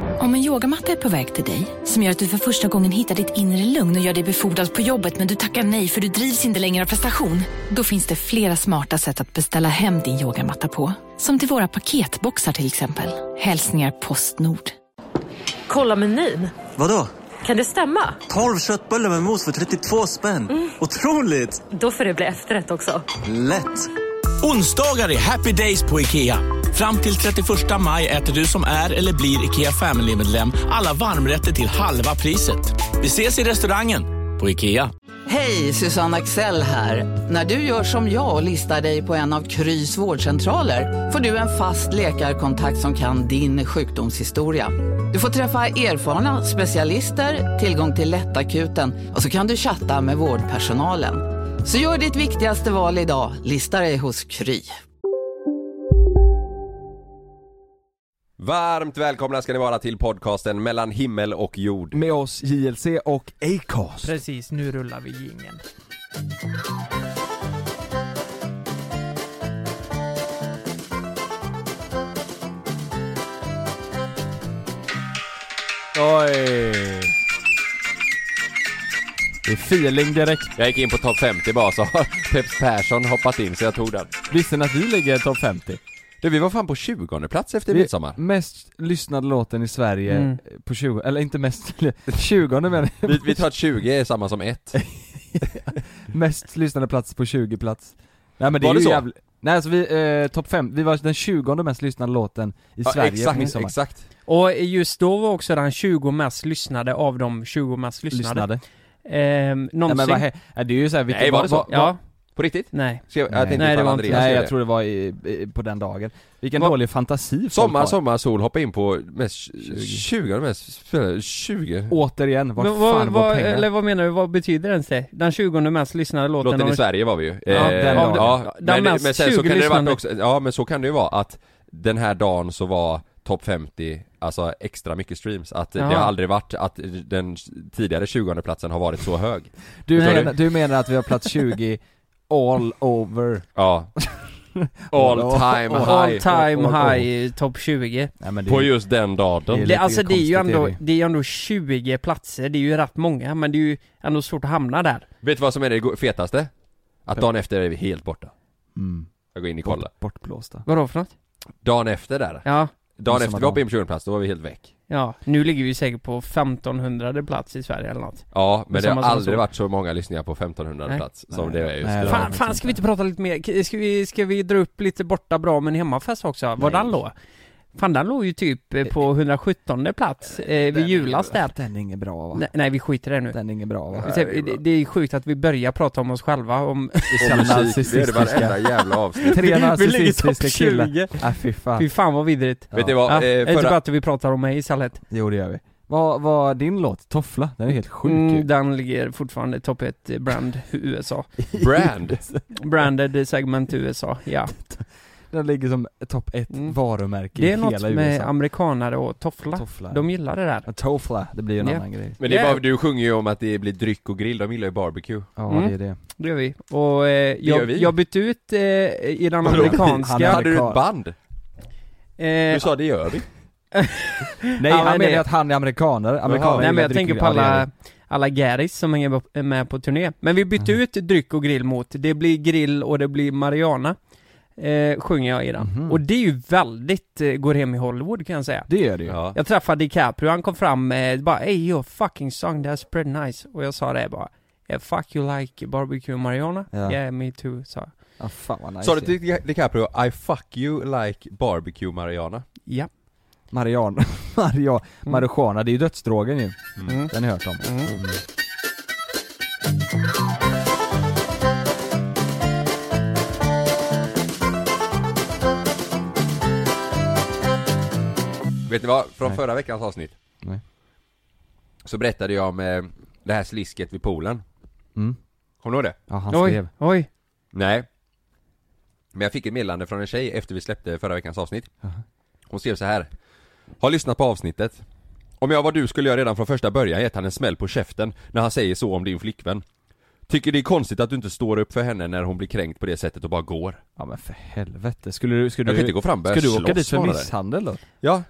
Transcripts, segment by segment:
Om en yogamatta är på väg till dig, som gör att du för första gången hittar ditt inre lugn och gör dig befordrad på jobbet men du tackar nej för du drivs inte längre av prestation. Då finns det flera smarta sätt att beställa hem din yogamatta på. Som till våra paketboxar till exempel. Hälsningar Postnord. Kolla menyn. Vadå? Kan det stämma? 12 köttbullar med mos för 32 spänn. Mm. Otroligt! Då får det bli efterrätt också. Lätt! Onsdagar är happy days på IKEA. Fram till 31 maj äter du som är eller blir IKEA Family-medlem alla varmrätter till halva priset. Vi ses i restaurangen på IKEA. Hej, Susanne Axel här. När du gör som jag och listar dig på en av Krys vårdcentraler får du en fast läkarkontakt som kan din sjukdomshistoria. Du får träffa erfarna specialister, tillgång till lättakuten och så kan du chatta med vårdpersonalen. Så gör ditt viktigaste val idag, listar dig hos Kry. Varmt välkomna ska ni vara till podcasten mellan himmel och jord. Med oss JLC och Acast. Precis, nu rullar vi jingeln. Oj! Det är feeling direkt. Jag gick in på topp 50 bara så har Peps Persson hoppat in så jag tog den. Visste ni att vi ligger i topp 50? Du vi var fan på 20 plats efter Vi- midsommar. Mest lyssnade låten i Sverige Mm. på 20, eller inte mest, 20 menar jag. Vi, vi tar att 20 är samma som ett. Mest lyssnade plats på 20 plats. Nej men det Var är det ju så? jävligt Nej alltså vi, eh, topp 5, vi var den 20 mest lyssnade låten i Sverige på exakt, midsommar. exakt. Och just då var också den 20 mest lyssnade av de 20 mest lyssnade. Lyssnade. Ehm, Nej någonsin. men vad he- nej, det är ju såhär, Nej, var det så? ja, På riktigt? nej. Ska jag, jag Nej. tänkte Nej, det ifall var inte- Andreas Nej gör jag det. tror det var i, i, på den dagen. Vilken Vad- dålig fantasi folk Sommar, har. sommar, sol, hoppa in på mest 20, 20. mest, spelare. 20? Återigen, vart Men fan var, pengarna? eller vad menar du, vad betyder ens det? Den 20 mest lyssnade låten, Låten i av- Sverige var vi ju. Eh, den ja, dagen. men, Den men mest sen så 20 kan det varit lyssnande. också, ja men så kan det ju vara att den här dagen så var topp 50 Alltså extra mycket streams, att Ja. det har aldrig varit att den tidigare 20 platsen har varit så hög Du, Förstår menar, du menar att vi har plats 20 all over? Ja All time high All time all- all- high eh, topp 20. Nej, men det, På just den Det dagen är Det, lite alltså det är ju konstigt, ändå, är det. det är ju ändå 20 platser, det är ju rätt många men det är ju ändå svårt att hamna där. Vet du vad som är det go- fetaste? Att dagen efter är vi helt borta mm, Jag går in och kollar bort, bortblåsta. Vadå för något? Dagen efter där, Ja, dagen efter Som att vi hoppade de- in på 20 plats, då var vi helt väck ja. Nu ligger vi säkert på 1500 plats i Sverige eller något. Ja, men Men det har samma som aldrig så. varit så många lyssningar på 1500 Nej. plats som Nej. det är just Nej, nu det Fan, vet fan ska vi inte prata lite mer? K- Ska vi, ska vi dra upp lite borta bra men hemmafest också? Var den låg? Fan den låg ju typ eh, på 117 plats eh, vid julas där. Den är ingen bra va? Nej, nej vi skiter i det nu. Den är ingen bra va? Vi säger- Det, det är sjukt att vi börjar prata om oss själva om... Och musik, det är det narcissistiska. varenda jävla avsnitt Tre vi ligger i topp narcissistiska killar. 20! Nej fy fan. Fy fan vad vidrigt. Ja. Vet ni vad, Ja, eh, jag tycker förra, att vi pratar om mig istället. Jo det gör vi. Vad var din låt? Toffla? Den är helt sjuk Mm, ju. den ligger fortfarande topp 1 brand USA. brand Branded segment USA, ja. Den ligger som topp ett Mm. varumärke Det är i något hela med USA. amerikanare och toffla. Toffla. De gillar det där. Ja, Toffla, det blir ju en Ja. annan grej. Men det är Yeah. bara, du sjunger ju om att det blir dryck och grill, de gillar ju barbecue Ja Mm. det är det. Det gör vi. Och eh, gör jag, vi. jag bytte ut eh, i den Vadå? Han amerikanska... hade- Hade du Karl. ett band? Eh, Du sa det gör vi Nej Ja, men han menar det- ju att han är amerikanare, amerikaner nej men gillar jag tänker dryck- på ja, det gör alla, vi. alla gäris som hänger med på turné. Men vi bytte ut dryck och grill mot, det blir grill och det blir Mariana. Eh, sjunger jag i den. Mhm. Och det är ju väldigt, eh, går hem i Hollywood kan jag säga. Det gör det ju. Ja Jag träffade DiCaprio, han kom fram med bara 'Ey your fucking song that's pretty nice' Och jag sa det bara 'Yeah fuck you like barbecue marijuana? Ja. Yeah me too' sa jag Ja, fan vad nice. Sa du till Di- DiCaprio 'I fuck you like barbecue Mariana'? Ja Marian, Marian, Marijuana, det är ju dödsdrogen ju. Mm. Den har jag hört om. Vet ni vad? Från Nej. förra veckans avsnitt Nej. Så berättade jag om eh, det här slisket vid poolen Mm. Kommer du ihåg det? Ja, han Oj, skrev. oj Nej Men jag fick ett meddelande från en tjej efter vi släppte förra veckans avsnitt Jaha. Hon skrev så här Har lyssnat på avsnittet Om jag var du skulle jag redan från första början gett han en smäll på käften när han säger så om din flickvän Tycker det är konstigt att du inte står upp för henne när hon blir kränkt på det sättet och bara går Ja men för helvete, skulle du, skulle Jag kan du, inte gå fram och börja skulle du åka slåss dit för bara där. misshandel då? Ja,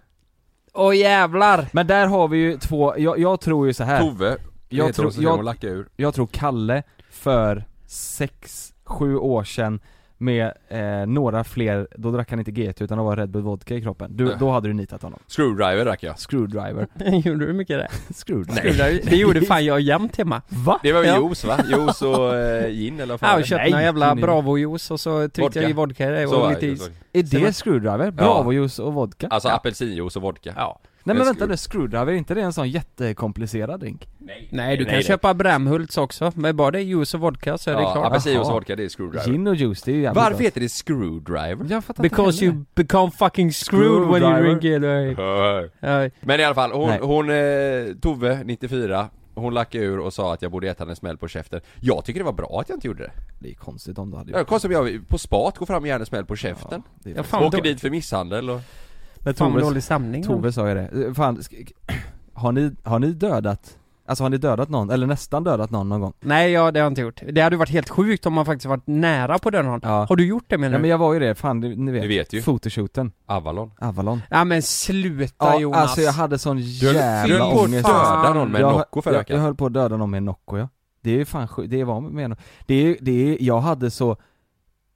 Åh jävlar! Men där har vi ju två, jag, jag tror ju så här. Tove, Jag jag tror- tror så jag- jag... lacka ur. jag tror Kalle för sex, sju år sedan med eh, några fler, då drack han inte GT utan det var Red Bull Vodka i kroppen. Du, Äh. då hade du nitat honom. Screwdriver drack jag. Screwdriver. gjorde du mycket det? Screwdriver. Gjorde du- Det gjorde fan jag jämt hemma. Va? Det var ju Ja. juice va? Juice och eh, gin eller vad Ja, fan och det är. köpte någon Nej, jävla det är- Bravo-juice och så tryckte Vodka. jag i vodka i det Så, och ja, lite is. så- Är det Stämmer. screwdriver? Bravojuice och vodka? Alltså ja. apelsinjuice och vodka. Ja. Nej men en vänta screw- nu, screwdriver, är inte det en sån jättekomplicerad drink? Nej, du Nej, kan nej. köpa Brämhults också, men bara det är juice och vodka så är det Ja, klart. apelsinjuice och Jaha. vodka, det är screwdriver. Gin och juice, det är ju jävligt Varför gott. heter det screwdriver? Jag fattar inte Because heller. you become fucking screwed when you drink it. right? Hör. Ja, Men i alla fall, hon, Nej. hon eh, Tove, 94, hon lackade ur och sa att jag borde gett henne en smäll på käften. Jag tycker det var bra att jag inte gjorde det. Det är konstigt om du hade Det gjort är konstigt om jag på spat går fram och ger henne en smäll på käften. det. Ja, är- fan, Åker då- dit för misshandel och... Men Fan vad Tove, dålig samling. Tove sa ju det. Eh, Fan, sk- har ni, har ni dödat, alltså har ni dödat någon, eller nästan dödat någon någon gång? Nej, ja, det har jag inte gjort. Det hade ju varit helt sjukt om man faktiskt varit nära på den honom. Ja. Har du gjort det menar Nej du? men jag var ju det, fan ni, ni vet. Ni vet ju. Fotoshooten, Avalon. Avalon. Ja men sluta Jonas. alltså jag hade sån höll- du jävla höll på att ångest. döda någon med en Jag- Nocco förra jag, jag veckan. höll på att döda någon med en Nocco ja. Det är ju fan sjukt, det var med en Det är, det är, jag hade så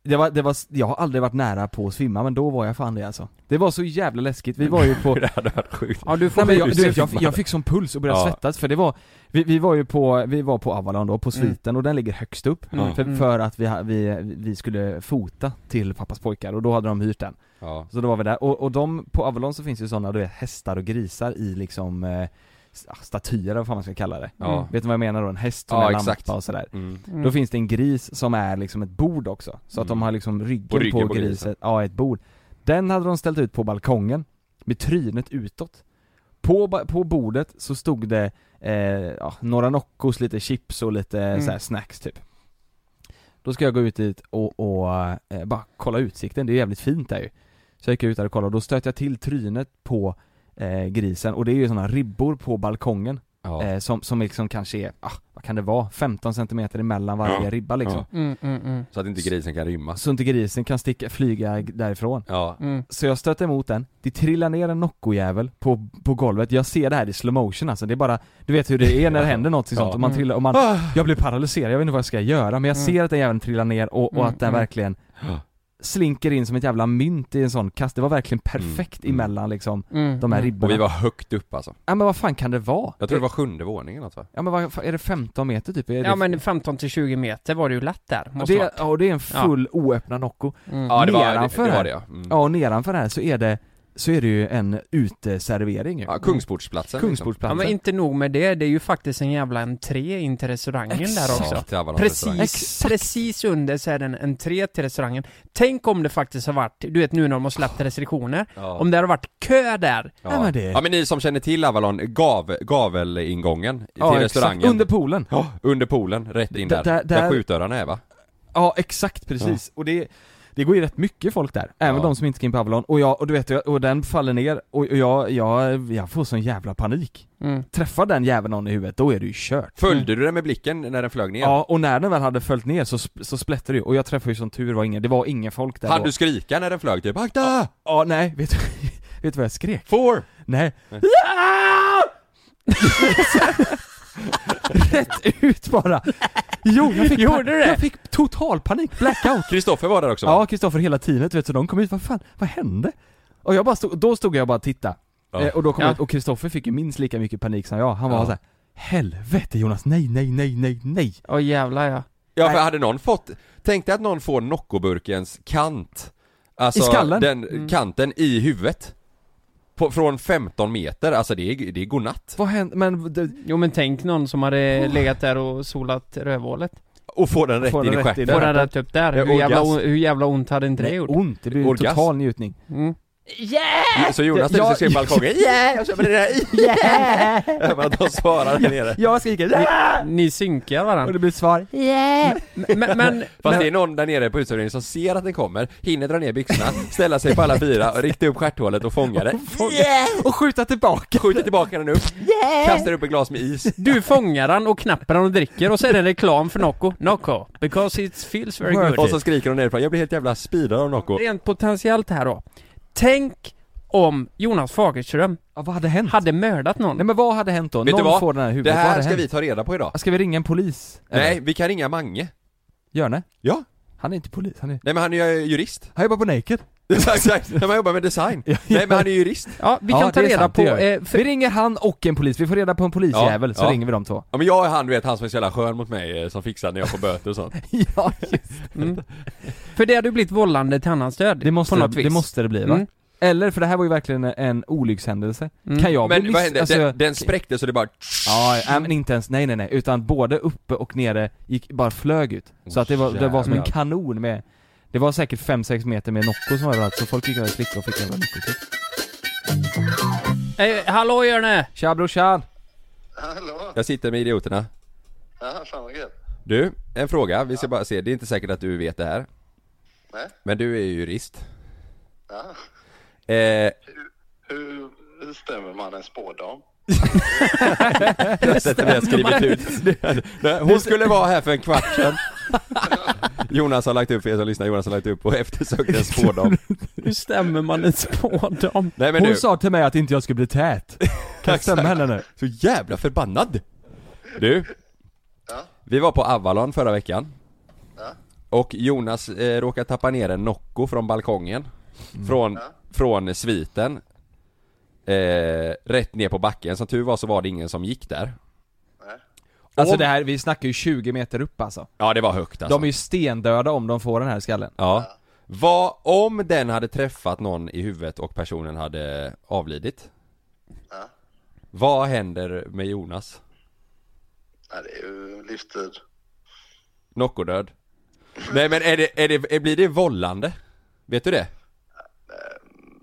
det var, det var, jag har aldrig varit nära på att svimma men då var jag fan det alltså. Det var så jävla läskigt, vi var ju på Det hade varit sjukt. Ja du får Nej, men jag, du bli- vet, jag, jag fick sån puls och började Ja. svettas för det var vi, vi var ju på, vi var på Avalon då, på sviten och den ligger högst upp Mm. för, Mm. för att vi, ha- vi, vi skulle fota till pappas pojkar och då hade de hyrt den Ja. Så då var vi där, och, och de, på Avalon så finns ju sådana, du vet hästar och grisar i liksom eh, s- statyer eller vad fan man ska kalla det Ja. Vet du vad jag menar då? En häst som Ja, är en exakt. lampa och sådär Mm. Mm. Då finns det en gris som är liksom ett bord också, så att de Mm. har liksom ryggen På på, ryggen på griset, grisen. ja ett bord Den hade de ställt ut på balkongen, med trynet utåt På, ba- på bordet så stod det eh, ja, några Noccos, lite chips och lite Mm. så här snacks typ Då ska jag gå ut dit och, och eh, bara kolla utsikten, det är jävligt fint där ju Så jag gick ut där och kollade och då stötte jag till trynet på eh, grisen och det är ju sådana ribbor på balkongen Ja. eh, som, som liksom kanske är, ah, vad kan det vara, 15 cm emellan varje Ja. ribba liksom Ja. Mm, mm, mm, Så att inte grisen kan rymma. Så inte grisen kan sticka, flyga g- därifrån Ja. mm. Så jag stöter emot den, det trillar ner en Nocco-jävel på, på golvet, jag ser det här i slow motion alltså, det är bara Du vet hur det är när det händer något sånt, Ja. Mm. Ah. och man trillar, och man, jag blir paralyserad, jag vet inte vad jag ska göra men jag Mm. ser att den jäveln trillar ner och, och Mm, att den mm. verkligen slinker in som ett jävla mynt i en sån kast, det var verkligen perfekt Mm, mm. emellan liksom Mm. de här mm. Och ribborna vi var högt upp alltså. Ja men vad fan kan det vara? Jag tror det var sjunde våningen alltså. Ja men vad, fan, är det 15 meter typ? Är det, Ja men 15 till 20 meter var det ju lätt där. och Måste det, vara. ja, och det är en full oöppnad Nocco Mm. Ja det var det, Nedanför det, var här. det ja. Mm. Ja och nedanför här så är det, så är det ju en uteservering ju. ja. Kungsportsplatsen liksom. Ja Kungsportsplatsen. men inte nog med det, det är ju faktiskt en jävla entré in till restaurangen där Liksom. också. Ja, till Avalon restaurang. Precis, precis under så är det en entré till restaurangen. Tänk om det faktiskt har varit, du vet nu när de har släppt restriktioner, Ja. om det hade varit kö där. Ja. Ja, men det- ja men ni som känner till Avalon, gav, gavelingången till ja, restaurangen. Exakt. Under poolen. Ja, under poolen, rätt in D- där. där- Där, där- skjutdörrarna är va? Ja exakt precis. Och det, det går ju rätt mycket folk där. Även Ja. de som inte ska in på Avalon. Och jag, och du vet, jag- och den faller ner och och jag, jag, jag får sån jävla panik. Mm. Träffar den jäveln någon i huvudet, då är det ju kört. Följde du den med blicken när den flög ner? Ja, och när den väl hade följt ner så, sp- så splätte det ju, och jag träffade ju som tur var ingen, det var ingen folk där Hade då. du skrika när den flög typ 'Akta! Ja, nej, vet du, vet du vad jag skrek? Får!' Nej. Ja! Rätt ut bara. Jo, jag fick, Gjorde du det? jag fick total panik, blackout. Kristoffer var där också Ja, Kristoffer hela teamet vet så de kom ut, vad fan, vad hände? Och jag bara stod, då stod jag bara och tittade. Ja. Eh, och då kom jag Ja. ut, och Kristoffer fick ju minst lika mycket panik som jag. Han var Ja. så här. Helvete Jonas, nej, nej, nej, nej, nej. Åh jävlar ja. Ja, för hade någon fått, tänk dig att någon får Noccoburkens kant Alltså, I skallen? Mm. den kanten i huvudet på, Från 15 meter, alltså det är, det är godnatt Vad hände, men det, Jo men tänk någon som hade legat där och solat rövhålet. Och får den rätt Får den in i rätt in. Får stjärten den rätt upp där. Ja, Hur jävla, orgasm. hur jävla ont hade inte det nej gjort? ont, det blir ju Orgasm. total njutning. Mm. Så Jonas ställer sig i Ja. balkongen, yeah! Och så blir det där, yeah! Men de svarar där nere Jag skriker "Ja!" Ni synkar och varandra. det blir svar Men, men, Fast det är någon där nere på utsövningen som ser att den kommer, hinner dra ner byxorna, ställa sig på alla fyra och rikta upp stjärthålet och fånga den och skjuta tillbaka. Skjuter tillbaka den upp, kastar upp ett glas med is du fångar den och knappar den och dricker och så är det reklam för Nocco. Nocco, because it feels very good. Och så skriker hon nerifrån, jag blir helt jävla speedad av Nocco Rent potentiellt här då. Tänk om Jonas Fagerström Ja, vad hade hänt? hade mördat någon. Mm. Nej men vad hade hänt då? Vet Någon du vad? får den här i Det huvudet, vad här hade ska hänt? vi ta reda på idag. Ah, Ska vi ringa en polis? Eller? Nej, vi kan ringa Mange. Björne? Ja. Han är inte polis, han är... Nej men han är ju jurist. Han jobbar på Naked Exakt, exakt. Nej, men Han jobbar med design. Nej men han är jurist. Ja, vi Ja, kan ta det är reda sant, på... det gör vi. Eh, för, Vi ringer han och en polis, vi får reda på en polisjävel så ja. ringer vi de två Ja men jag är han du vet, han som är så jävla skön mot mig eh, som fixar när jag får böter och sånt. Ja, mm. för det hade ju blivit vållande till annans död. det måste, på något vis. det, måste det bli va? Mm. Eller, för det här var ju verkligen en olyckshändelse Mm. Kan jag bli Men vad miss- hände? alltså, den, jag- den spräcktes och det bara... Ja, nej, men inte ens, nej nej nej, utan både uppe och nere gick, bara flög ut Så Åh, att det var, det var som en jävlar. kanon med Det var säkert 5-6 meter med Nocco som var överallt, så folk gick över och klickade och fick jävla nyckelklick Eh, hallå Jörne! Tja brorsan! Hallå? Jag sitter med idioterna. Ja, fan vad gött. Du, en fråga. Vi ska bara se. Det är inte säkert att du vet det här. Nej. Men du är ju jurist. Ja. Eh, Hur stämmer man en spådam? sättet vi har skrivit ut. Nej, Hon skulle vara här för en kvart sedan. Jonas har lagt upp, för er som lyssnar, Jonas har lagt upp och eftersökt en spådam. Hur stämmer man en spådam? Nej men Hon du, sa till mig att inte jag skulle bli tät Kan jag stämma henne nu? så jävla förbannad! Du, vi var på Avalon förra veckan. Och Jonas eh, råkade tappa ner en Nocco från balkongen. Från, från sviten. Eh, rätt ner på backen, som tur var så var det ingen som gick där. Alltså Om- det här, vi snackar ju 20 meter upp alltså. Ja det var högt alltså. De är ju stendöda om de får den här skallen. Ja. Vad om den hade träffat någon i huvudet och personen hade avlidit? Vad händer med Jonas? Ja, det är ju livstid. Nockodöd? Nej men är det, är det, blir det vållande? Vet du det?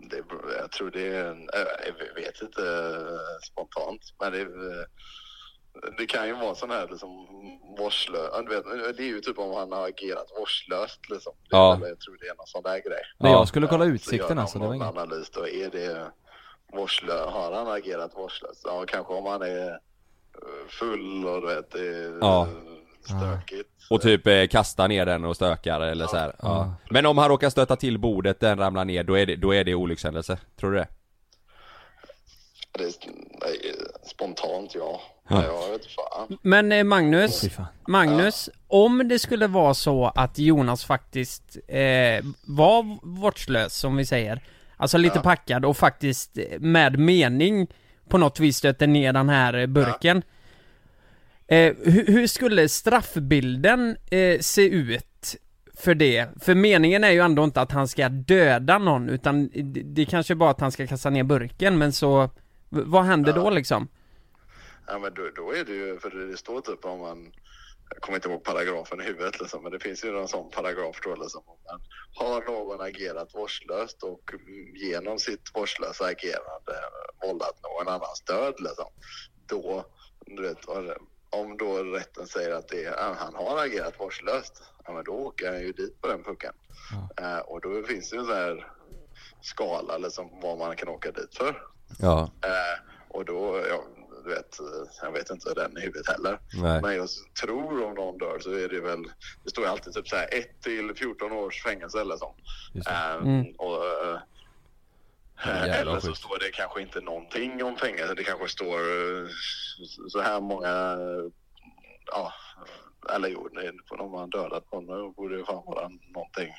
Det, är- jag tror det är en, eh, jag vet inte eh, spontant, men det, är, eh, det kan ju vara sån här liksom vårdslöst. Det är ju typ om han har agerat vårdslöst liksom. Det, Ja. ja. Jag tror det är någon sån där grej. När Ja. jag skulle kolla så utsikten gör alltså, de det var någon inget. analys då. Är det vårdslö, har han agerat vårdslöst? Ja, kanske om han är eh, full och du vet, det är Ja. ja. Eh, stökigt. Och typ eh, kastar ner den och stökar eller så här. Ja. Men om han råkar stöta till bordet, den ramlar ner, då är det, då är det olyckshändelse? Tror du det? Det är, nej, spontant ja. ja. Jag vet fan. Men eh, Magnus, Magnus, om det skulle vara så att Jonas faktiskt eh, var vårdslös som vi säger, alltså lite packad och faktiskt eh, med mening på något vis stötte ner den här eh, burken. Eh, hur, hur skulle straffbilden eh, se ut för det? För meningen är ju ändå inte att han ska döda någon utan det, det kanske bara att han ska kasta ner burken men så, v- vad händer då liksom? Ja, men då, då är det ju, för det står typ om man, jag kommer inte ihåg paragrafen i huvudet liksom, men det finns ju någon sån paragraf då liksom. Om man har någon agerat vårdslöst och mm, genom sitt vårdslösa agerande vållat någon annans död liksom. Då, du vet, om- om då rätten säger att det är, "Ah, han har agerat vårdslöst, ja, men då åker han ju dit på den pucken. Eh, och då finns det ju en sån här skala liksom, vad man kan åka dit för. Ja. Eh, och då, ja, du vet, eh, jag vet inte den i huvudet heller. Nej. Men jag s- tror om någon dör så är det väl, det står ju alltid typ så här 1 till 14 års fängelse eller så. Eh, och, eh, Jävla eller så sjukt. står det kanske inte någonting om fängelse. Det kanske står eh, s- så här många, eh, ja, eller jo, nej, om man dödat någon då borde det fan vara någonting.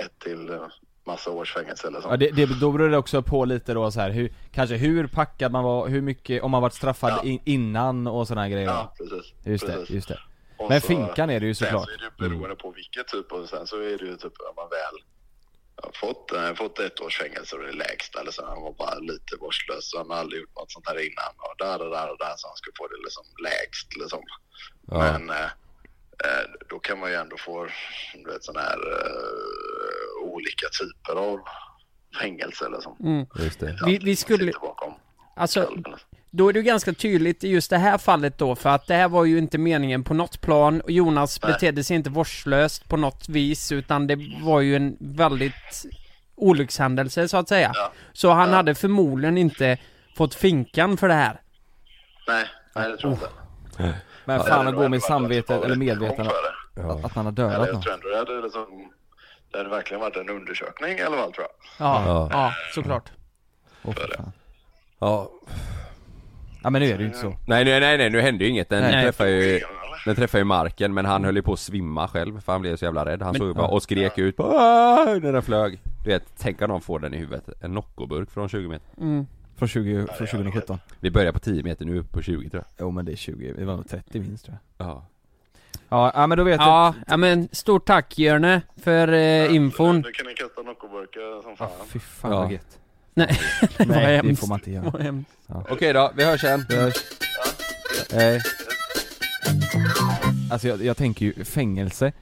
1 till eh, massa års fängelse eller så. Ja, det, det, då beror det också på lite då så här, hur, kanske hur packad man var, hur mycket, om man varit straffad in, innan och sådana grejer. ja, precis. Just det, precis. just det. Och Men så- finkan är det ju såklart. Sen så är det ju beroende på vilket typ och sen så är det ju typ om man väl har fått, eh, fått ett års fängelse och det lägsta eller så. Han var bara lite vårdslös så han har aldrig gjort något sånt här innan och där och där och där så han skulle få det liksom lägst liksom. Men eh, eh, då kan man ju ändå få du vet, såna här eh, olika typer av fängelse eller så. Just det. Mm. Vi, vi skulle, Sitter bakom. alltså Då är det ju ganska tydligt i just det här fallet då, för att det här var ju inte meningen på något plan och Jonas betedde sig inte vårdslöst på något vis utan det var ju en väldigt olyckshändelse så att säga. Så han hade förmodligen inte fått finkan för det här. Nej, nej det tror jag inte. Men Det fan hade att nog gå med ändå varit samvetet en eller rättegång medvetandet för det. att, att man har Eller dödat jag någon. tror ändå det hade, liksom, det hade verkligen varit en undersökning i alla fall tror jag. Ja, ja såklart. Åh, för fan. Ja. Ja men nu är det ju inte så. Nej, nej, nej, nej, nu hände ju inget. Den Nej. Mm. träffar ju... Den träffar ju marken men han höll ju på att svimma själv för han blev så jävla rädd. Han såg ju bara och skrek ut bara, "Aah!" när den flög. Du vet, tänk om någon får den i huvudet. En Noccoburk från 20 meter. Från, 20, från 2017. Vi börjar på 10 meter nu, upp på 20 tror Jo men det är 20, det var nog 30 minst tror jag. jag. Ja. Ja, ja men då vet Ja, ja men stort tack Jörne för eh, infon. Du kan ni kasta Noccoburkar som jag. fan. Ah, fy fan Ja. vad gött. Nej, det var Nej det hemskt. får man inte göra. Vad hemskt. Okej då, vi hörs sen. Hej. Alltså jag, jag tänker ju fängelse.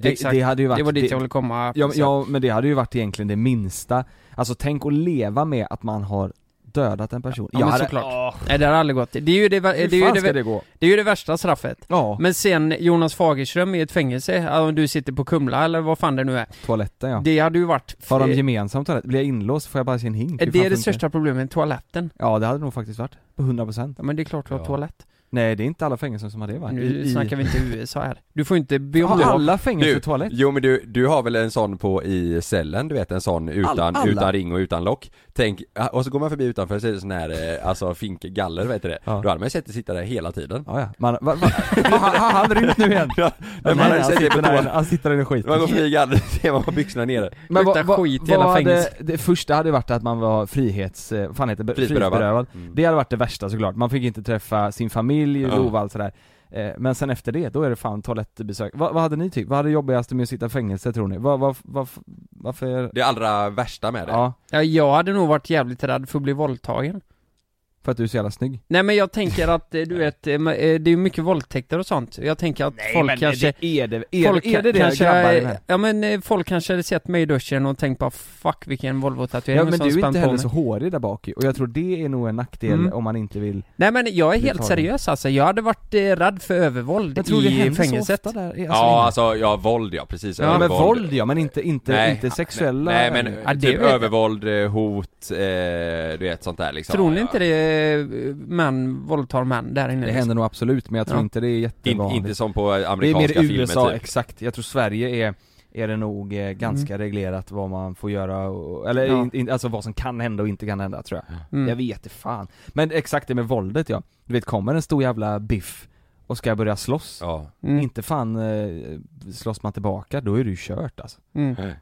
Det, Exakt. det hade ju varit... Alltså, Det var dit jag ville komma. Ja, men- ja men det hade ju varit egentligen det minsta. Alltså tänk att leva med att man har dödat en person. Ja, Jag men hade- såklart. Åh, Nej det har aldrig gått. Det är ju det, det, är hur ju fan ska det, det gå? det, är ju det värsta straffet. Ja, Men sen Jonas Fagerström i ett fängelse, alltså, om du sitter på Kumla eller vad fan det nu är. toaletten ja. Det hade ju varit... Har de eh, gemensamt toalett? Blir jag inlåst? Får jag bara se en hink? Hur fan det är funkar det största problemet, toaletten. Ja det hade nog faktiskt varit. På 100%. Ja, men det är klart du har Ja. toalett. Nej det är inte alla fängelser som har det va? Nu I- i- snackar vi inte USA här. Du får inte be om Har lov. alla fängelser Du, toalett? jo men du, du har väl en sån på i cellen, du vet en sån utan, alla. utan ring och utan lock Tänk, ah, och så går man förbi utanför så är det sån här, eh, alltså finkgaller, vet du det? Ja. Då hade man ju sett det sitta där hela tiden Ja, ja. Man, va, va, har, har han rymt nu igen? Ja, men man Nej, hade nej, ju han, sett det på sitter där, toan han sitter där i skiten. Man går förbi gallret, ser man har byxorna nere Men Luktar skit i hela vad hade, fängelset. det första hade varit att man var frihets, eh, vad fan heter det, Frihetsberövad. frihetsberövad. Mm. Det hade varit det värsta såklart, man fick inte träffa sin familj, Ja. lova allt sådär Eh, Men sen efter det, då är det fan toalettbesök. Vad, vad hade ni tyckt? Vad hade jobbigaste med att sitta i fängelse tror ni? Vad, vad, vad, varför? Det allra värsta med det Ja, Ja, jag hade nog varit jävligt rädd för att bli våldtagen. för att du är så jävla snygg. Nej men jag tänker att eh, du vet, eh, ma- eh, det är mycket våldtäkter och sånt. Jag tänker att folk kanske... är det, är, folk är det det kanske, grabbar emellan? Ja men eh, folk kanske hade sett mig i duschen och tänkt bara 'fuck vilken Ja Volvo-tatuering' men som du är spann inte på heller mig." så hårig där bak ju, och jag tror det är nog en nackdel Mm. om man inte vill Nej men jag är Du helt tar den. seriös alltså, jag hade varit eh, rädd för övervåld Jag tror det i händer fängelset. så ofta där, alltså, Ja alltså, ja våld ja, precis Ja, men Övervåld. våld ja, men inte, inte, Nej. inte sexuella Nej men Ja, det typ vet jag. övervåld, eh, hot, eh, du vet sånt där liksom Tror ni Ja. inte det eh, män våldtar män där inne? liksom? Det händer nog absolut, men jag tror Ja. inte det är In, jättevanligt Inte som på eh, Det är mer amerikanska i filmer USA, typ exakt. Jag tror Sverige är, är det nog eh, ganska reglerat vad man får göra och, eller Ja. in, in, alltså vad som kan hända och inte kan hända tror jag. Mm. Jag vet det fan. Men exakt det med våldet ja. Du vet, kommer en stor jävla biff och ska börja slåss, Ja, Mm. inte fan eh, slåss man tillbaka, då är du kört alltså. Mm. Nej.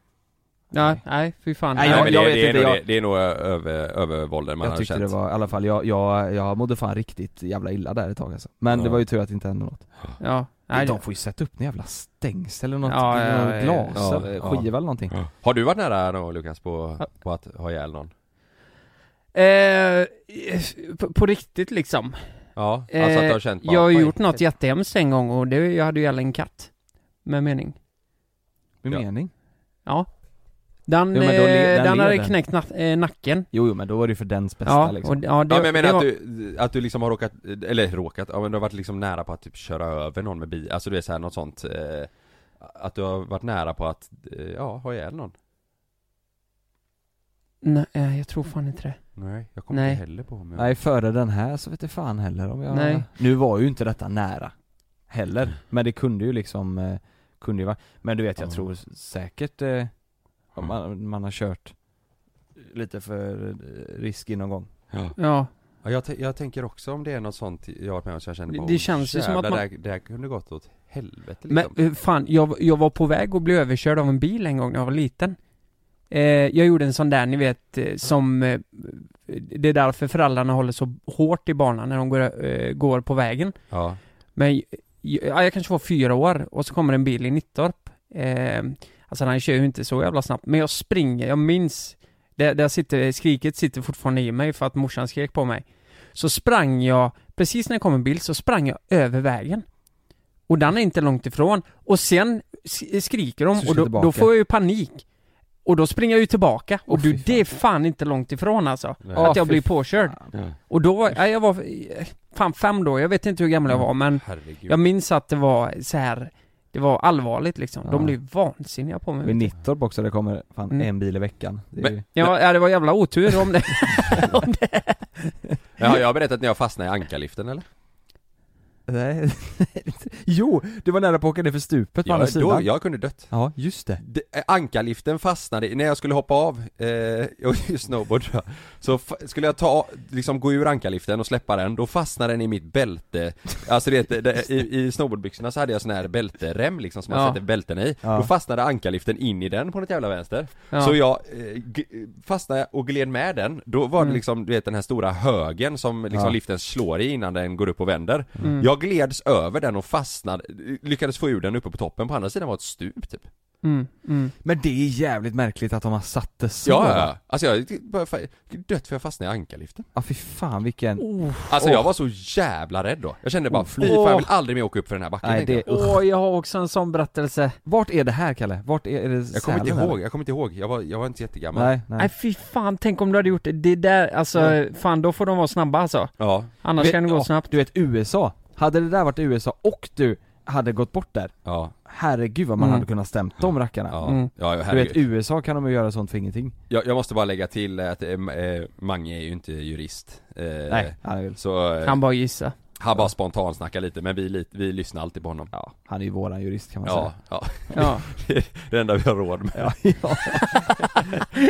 Nej, nej fy fan. Nej, Nej, jag- men jag det, vet det, är inte, nog, jag- det, det är nog över, övervålden man jag har tyckte känt. det var, i alla fall, jag, jag, jag mådde fan riktigt jävla illa där ett tag alltså. Men det Ja. var ju tur att det inte hände något. Ja, nej, de får ju sätta upp en jävla stängsel eller något, Ja, ja, något ja, glas ja. eller Ja. skiva eller någonting Har du varit nära då Lukas på, Ja. på att ha ihjäl någon? Eh, på, på riktigt liksom. Ja, alltså att du Eh, har känt bara, jag har ju "Oj." gjort något jättehemskt en gång och det, jag hade ju ihjäl en katt. Med mening. Med Ja. mening? Ja. Den, Jo, men då eh, le- den den, hade leder. knäckt na eh, nacken. Jo, jo men då var det ju för dens bästa Ja, liksom och, ja, det, Ja men jag det menar att var, du, att du liksom har råkat, eller råkat, ja men du har varit liksom nära på att typ köra över någon med bil, alltså du är såhär något sånt eh, Att du har varit nära på att, eh, ja, ha ihjäl någon Nej, eh, jag tror fan inte det. Nej, jag kommer Nej. inte heller på om jag... Nej före den här så vet jag fan heller om jag... Nej. Nu var ju inte detta nära Heller, men det kunde ju liksom, eh, kunde ju vara Men du vet jag Ja. Mm. tror säkert eh, om man, man har kört lite för eh, riskig någon gång Ja. Ja, Ja, jag, t- jag tänker också om det är något sånt jag har varit med om så jag känner Det- bara, det "Oh, känns ju som jävlar, att man- det, här, det här kunde gått åt helvete men liksom eh, fan, jag, jag var på väg att bli överkörd av en bil en gång när jag var liten. Eh, jag gjorde en sån där, ni vet, eh, som... Eh, det är därför föräldrarna håller så hårt i barnen när de går, eh, går på vägen. Ja, Men jag, ja, jag kanske var fyra år och så kommer en bil i Nittorp. Eh, alltså han kör ju inte så jävla snabbt, men jag springer, jag minns. Där, där sitter, skriket sitter fortfarande i mig för att morsan skrek på mig. Så sprang jag, precis när det kom en bil så sprang jag över vägen. Och den är inte långt ifrån. Och sen sk- skriker Så de du och ska då, då tillbaka. får jag ju panik. Och då springer jag ju tillbaka. Och Åh, fy du, fan. det är fan inte långt ifrån alltså. Att Ja, jag fy blir påkörd. Ja. Och då, var- nej, jag var, eh, fan fem då, jag vet inte hur gammal jag Mm. var men herregud jag minns att det var så här det var allvarligt liksom. Ja. De blev vansinniga på mig. Vid Nittorp också, det kommer fan Mm. en bil i veckan det är Men- ju... Ja, ja, det var jävla otur om det. om det. Men har jag berättat när jag fastnade i ankarliften eller? Nej. jo, du var nära på att åka ner för stupet på andra Jag, då, sidan. jag kunde dött. Ja, just det. Det- eh, Ankarliften fastnade, när jag skulle hoppa av, eh, jag gjorde snowboard tror jag. så fa- skulle jag ta, liksom gå ur ankarliften och släppa den, då fastnade den i mitt bälte Alltså det, det, det, i, i snowboardbyxorna så hade jag sån här bälterem liksom som man Ja. sätter bälten i Ja. Då fastnade ankarliften in i den på något jävla vänster Ja. Så jag eh, g- fastnade och gled med den, då var det liksom du vet den här stora högen som liksom Ja. liften slår i innan den går upp och vänder Jag gleds över den och fastnade, lyckades få ur den uppe på toppen, på andra sidan var ett stup typ Mm, mm. Men det är jävligt märkligt att de har satt det så. Ja, ja, alltså jag började fa- dött för jag fastnade i ankarliften Ja, fy fan vilken... Oh, Alltså jag var så jävla rädd då Jag kände bara, fy fan jag vill aldrig mer åka upp för den här backen Nej, tänkte det... jag. usch. Åh, jag har också en sån berättelse. Vart är det här Kalle? Vart är, är det Jag kommer inte Sälen, ihåg, jag kommer inte ihåg, jag var, jag var inte jättegammal Nej, Nej nej. fy fan, tänk om du hade gjort det. Det där, alltså, fan då får de vara snabba alltså. Ja, Annars Vet- kan det gå ja, snabbt. Du vet USA, hade det där varit USA och du hade gått bort där, ja, herregud vad man Mm. hade kunnat stämt de rackarna. ja, Mm. ja Du vet herregud. USA kan de ju göra sånt för ingenting. jag, jag måste bara lägga till att eh, M- eh, Mange är ju inte jurist eh, Nej, han är, väl, Så eh, Kan han, bara gissa. bara spontansnackar lite, men vi, lit- vi lyssnar alltid på honom ja, han är ju våran jurist kan man Ja, säga. ja, Ja. det enda vi har råd med ja.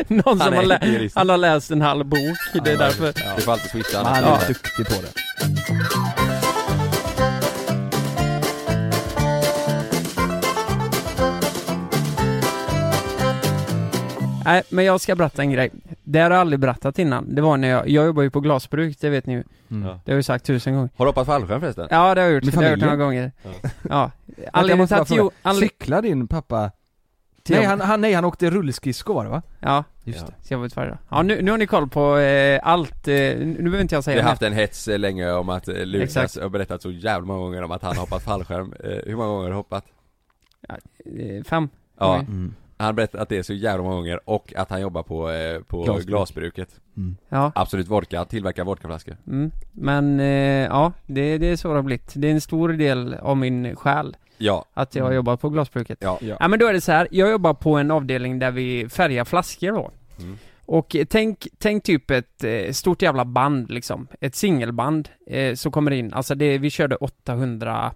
Någon som är har, inte lä- jurist. han har läst en halv bok. Det är därför. Vi får alltid swisha Men han är Ja. ju duktig på det. Nej, men jag ska berätta en grej. Det har jag aldrig berättat innan. Det var när jag, jag jobbar ju på glasbruk, det vet ni ju. Mm. Ja. Det har jag ju sagt tusen gånger. Har du hoppat fallskärm förresten? Ja, det har jag gjort. Med Det har jag gjort några familjen? gånger. Ja. jag Anledningen måste till bara att jo, fråga, anled- cyklar din pappa? till Nej jobb- han, han, nej, han åkte rullskridskor var det va? Ja, Just Ja. det. så jag vet varje dag. Ja, nu, nu har ni koll på eh, allt. Eh, nu behöver inte jag Vi säga har mer. haft en hets eh, länge om att eh, Lukas Exakt. har berättat så jävla många gånger om att han har hoppat fallskärm Eh, Hur många gånger har du hoppat? Eh, Fem. Ja, Mm. Oj. Mm. Han berättade att det är så jävla många gånger och att han jobbar på, eh, på Glasbruk. glasbruket Ja. Absolut vodka, tillverkar vodkaflaskor Mm. Men eh, ja, det, det är så det har blivit. Det är en stor del av min själ Ja, att jag har jobbat på glasbruket. Mm. ja, Ja. Ja men då är det så här, jag jobbar på en avdelning där vi färgar flaskor då. Mm. Och eh, tänk, tänk typ ett eh, stort jävla band liksom, ett singelband eh, som kommer in, alltså det, vi körde 800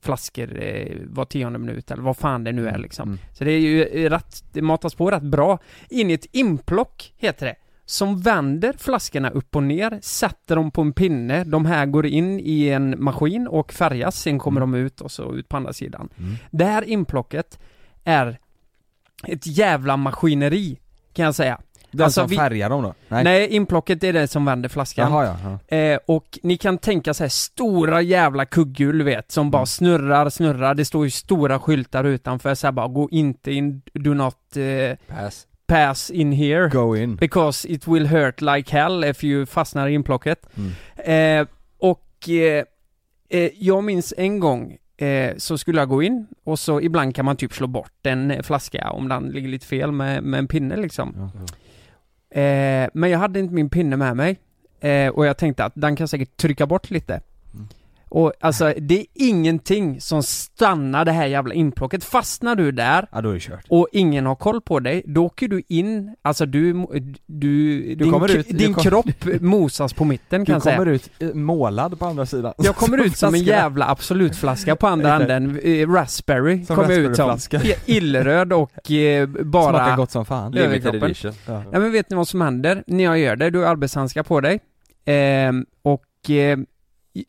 flaskor eh, var tionde minut eller vad fan det nu är liksom. Mm. Så det är ju eh, rätt, det matas på rätt bra. In i ett inplock heter det. Som vänder flaskorna upp och ner, sätter dem på en pinne, de här går in i en maskin och färgas, sen kommer Mm. de ut och så ut på andra sidan. Det här inplocket är ett jävla maskineri, kan jag säga. Den Alltså, som vi- färgar dem då? Nej, inplocket är det som vänder flaskan. Jaha ja, ja. Eh, och ni kan tänka så här stora jävla kugghjul du vet, som bara snurrar, snurrar. Det står ju stora skyltar utanför så här bara, gå inte in, do not eh, pass pass in here. Go in. Because it will hurt like hell if you fastnar i inplocket. Eh, och eh, eh, jag minns en gång eh, så skulle jag gå in och så ibland kan man typ slå bort en eh, flaska om den ligger lite fel med, med en pinne liksom. Eh, men jag hade inte min pinne med mig eh, och jag tänkte att den kan säkert trycka bort lite. Och alltså det är ingenting som stannar det här jävla inplocket. Fastnar du där Ja då är det kört. och ingen har koll på dig, då åker du in, alltså du, du, din, kommer k- ut- du din kom- kropp mosas på mitten kan Du jag säga. kommer ut eh, målad på andra sidan. Jag kommer ut som en Flaskorna. jävla absolutflaska på andra Exakt. änden, eh, raspberry Som kommer jag ut som. raspberryflaska. I- Illröd och eh, Smakar bara... gott som fan. Över Limited kroppen. edition Ja men vet ni vad som händer när jag gör det? Du har arbetshandskar på dig. Ehm, och eh,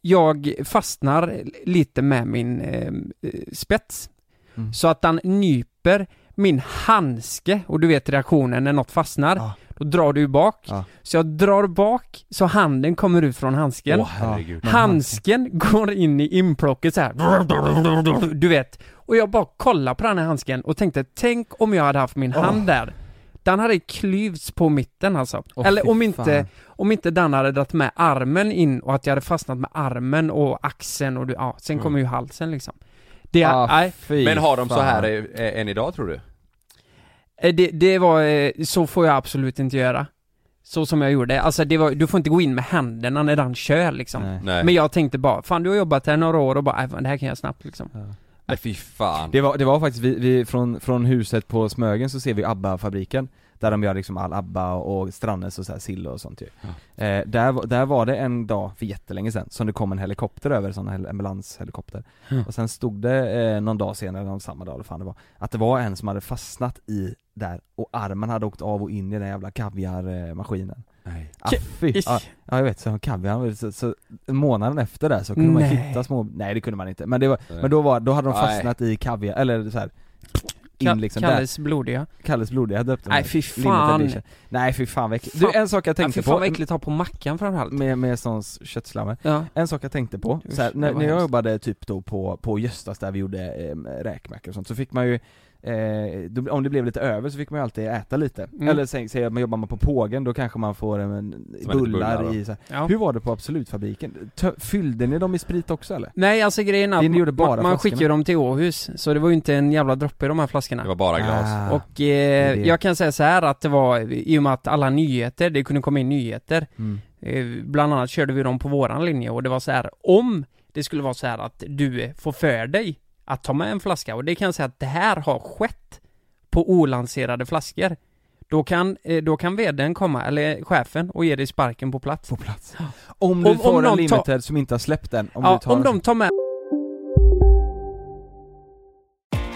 jag fastnar lite med min ehm, eh, spets. Mm. Så att den nyper min handske och du vet reaktionen när något fastnar. Ja. Då drar du bak. Ja. Så jag drar bak så handen kommer ut från handsken. Åh herregud Ja. Handsken går in i inplocket så här. Du vet. Och jag bara kollar på den här handsken och tänkte, tänk om jag hade haft min hand där. Den hade klyvts på mitten alltså. Åh, Eller fy om fan. inte, om inte den hade dragit med armen in och att jag hade fastnat med armen och axeln och du, ja, Mm. sen kommer ju halsen liksom. Det, Ah, nej, fy Men har de så fan. här eh, eh, än idag tror du? eh, det, det var, eh, så får jag absolut inte göra. Så som jag gjorde. Alltså det var, du får inte gå in med händerna när den kör liksom. Nej. Nej Men Men, jag tänkte bara, fan du har jobbat här några år och bara, "Aj, fan, det här kan jag snabbt liksom. Nej fy fan Det var, det var faktiskt, vi, vi från, från huset på Smögen så ser vi ABBA-fabriken Där de gör liksom all ABBA och Strannes och så här sill och sånt ju. Eh, där, var- där var det en dag för jättelänge sedan som det kom en helikopter över, sån här ambulanshelikopter. Och sen stod det eh, någon dag senare, eller samma dag eller fan det var, att det var en som hade fastnat i där och armen hade åkt av och in i den jävla kaviarmaskinen. Nej. Ah, fy, ja, ja jag vet, så kaviar, så, så månaden efter där så kunde man Nej. hitta små, nej det kunde man inte, men det var, Nej. men då var, då hade de Nej. fastnat i kaviar, eller så här. Ka- In liksom Kalles, Kalles blodiga. där, Kalles blodiga döpte Nej, mig. fy Limited fan. edition. Nej fy fan vad äckligt. Fan. Du en sak jag Ja, fy tänkte fan vad på, äckligt att ha på mackan framförallt. med, med såns köttslammer, Ja. en sak jag tänkte på, Usch, så här, när, det var när jag hemskt. jobbade typ då på, på Göstas där vi gjorde eh, räkmackor och sånt, så fick man ju Eh, då, om det blev lite över så fick man ju alltid äta lite. Mm. Eller säg, säg att man jobbar man på pågen, då kanske man får en, en lite bullar, bullar, i så här. Ja. Hur var det på Absolutfabriken? Tö- fyllde ni dem i sprit också eller? Nej alltså grejen är Det att ni gjorde ma- bara man, flaskorna. man skickar ju dem till Åhus, så det var ju inte en jävla droppe i de här flaskorna. Det var bara glas. Ah. Och eh, det. jag kan säga så här att det var, i och med att alla nyheter, det kunde komma in nyheter. Mm. Eh, bland annat körde vi dem på våran linje och det var så här om det skulle vara så här att du får för dig att ta med en flaska och det kan jag säga att det här har skett på olanserade flaskor. Då kan, eh, då kan vdn komma, eller chefen, och ge dig sparken på plats. På plats. Om du Om- om får en någon limited tar- som inte har släppt den, om ja, du tar om en de tar med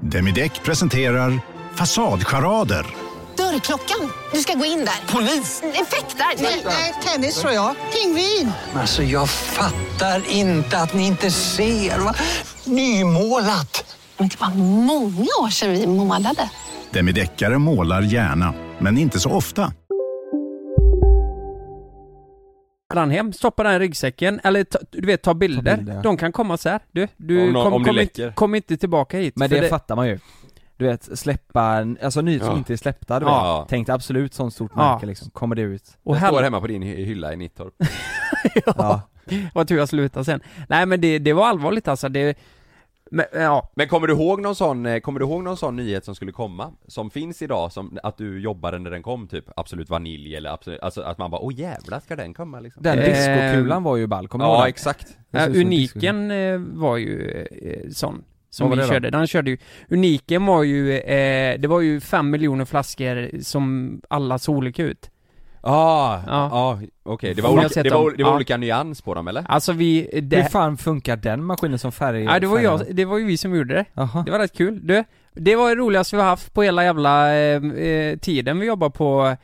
Demideck presenterar Fasadcharader. Dörrklockan. Du ska gå in där. Polis? Effektar? Nej, tennis tror jag. Pingvin. Alltså jag fattar inte att ni inte ser. Va? Nymålat. Men det var många år sedan vi målade. Demideckare målar gärna, men inte så ofta. den hem, stoppa den i ryggsäcken, eller ta, du vet ta bilder. Ta bilder, ja. De kan komma så här. Du, du Om någon- kom, om det kom, läcker. inte, kom inte tillbaka hit. Men för det, fattar man ju. Du vet, släppa, alltså nyheter som Ja. inte är släppta, du Ja. vet. Tänk dig absolut sånt stort Ja. märke liksom, kommer det ut? och Jag står här, hemma på din hy- hylla i Nittorp. Ja. vad tur jag slutade sen. Nej men det, det var allvarligt alltså. Det, men, ja, Men kommer du ihåg någon sån, eh, kommer du ihåg någon sån nyhet som skulle komma? Som finns idag, som att du jobbade när den kom typ, Absolut Vanilj eller absolut, alltså att man bara åh jävlar ska den komma liksom? Den Eh, diskokulan var ju ball, kommer du ihåg ja den? exakt. Det ser eh, ut som en Uniken eh, var ju eh, sån. Som Vad var vi det då? körde. Den körde ju, Uniken var ju, eh, det var ju fem miljoner flaskor som alla såg olika ut. Ah, ja, Ja. okej. Det var, Om jag olika, sett det var, dem. det var Ja. olika nyans på dem eller? Alltså vi, det, Hur fan funkar den maskinen som färg? nej, det var ju färgerna? jag, det var ju vi som gjorde det. Jaha. Det var rätt kul. Du, det var det roligaste vi har haft på hela jävla eh, eh, tiden vi jobbar på,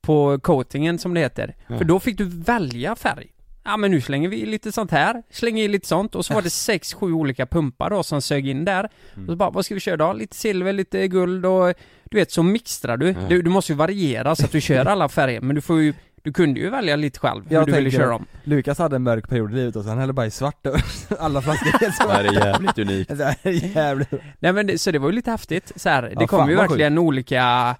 på coatingen som det heter. För då fick du välja färg. Ja men nu slänger vi i lite sånt här, slänger i lite sånt och så var det sex, sju olika pumpar då som sög in där. Mm. Och så bara, vad ska vi köra idag? Lite silver, lite guld och du vet så mixtrar du. Du, du måste ju variera så att du kör alla färger men du får ju, du kunde ju välja lite själv hur Jag du ville tänker- köra dem. Lukas hade en mörk period i livet och så han hällde bara i svart över alla flaskor helt Det här är jävligt unikt. så här, jävligt. Nej men det, så det var ju lite häftigt så här. Det Ja, fan, kom ju vad sjukt. verkligen olika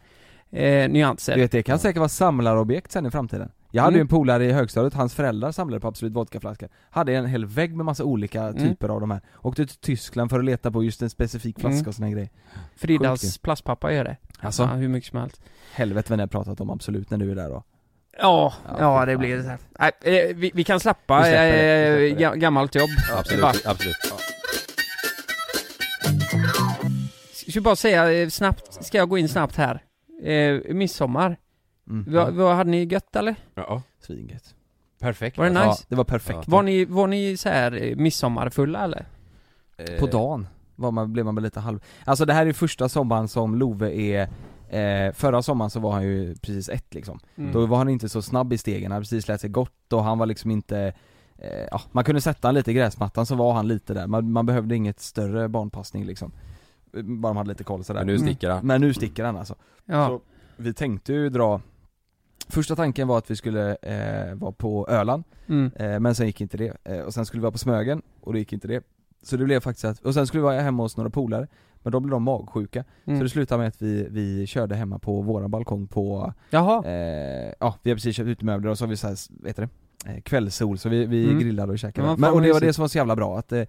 eh, nyanser. Du vet det kan säkert vara samlarobjekt sen i framtiden Jag hade Mm. ju en polare i högstadiet, hans föräldrar samlade på Absolut Vodkaflaskor Hade en hel vägg med massa olika typer av de här Åkte till Tyskland för att leta på just en specifik flaska Mm. och såna här grejer Sjukt Fridas plastpappa gör det. Alltså? Ja, hur mycket som helst. Helvete vad ni har pratat om Absolut när du är där då Ja, Ja, ja, fy det fan. blir så här. Nej, eh, vi, vi kan släppa Vi släpper det, eh, vi släpper ga- gammalt jobb. Absolut, Bara, absolut. ska jag bara säga eh, snabbt, ska jag gå in snabbt här? Eh, midsommar. mm. Va- va- hade ni gött eller? Ja, Svingött perfekt. Var det Ja, nice? det var perfekt Var ni, var ni så här eh, midsommarfulla eller? Eh, På dagen var man, blev man väl lite halv Alltså det här är första sommaren som Love är Eh, förra sommaren så var han ju precis ett liksom. Mm. Då var han inte så snabb i stegen, han hade precis lärt sig gott och han var liksom inte eh, ja, man kunde sätta han lite i gräsmattan så var han lite där, man, man behövde inget större barnpassning liksom Bara man hade lite koll sådär Men nu sticker Mm. han. Men nu sticker han alltså Ja. Så vi tänkte ju dra Första tanken var att vi skulle eh, vara på Öland Mm. eh, Men sen gick inte det, eh, och sen skulle vi vara på Smögen och då gick inte det Så det blev faktiskt att, och sen skulle vi vara hemma hos några polare Men då blev de magsjuka, Mm. så det slutade med att vi, vi körde hemma på våran balkong på Jaha. Eh, ja, vi har precis köpt utemöbler och så har vi så här, vad heter det? Eh, kvällssol, så vi, vi Mm. grillade och käkade. Ja, vad fan men, och det var mysigt. det som var så jävla bra, att eh,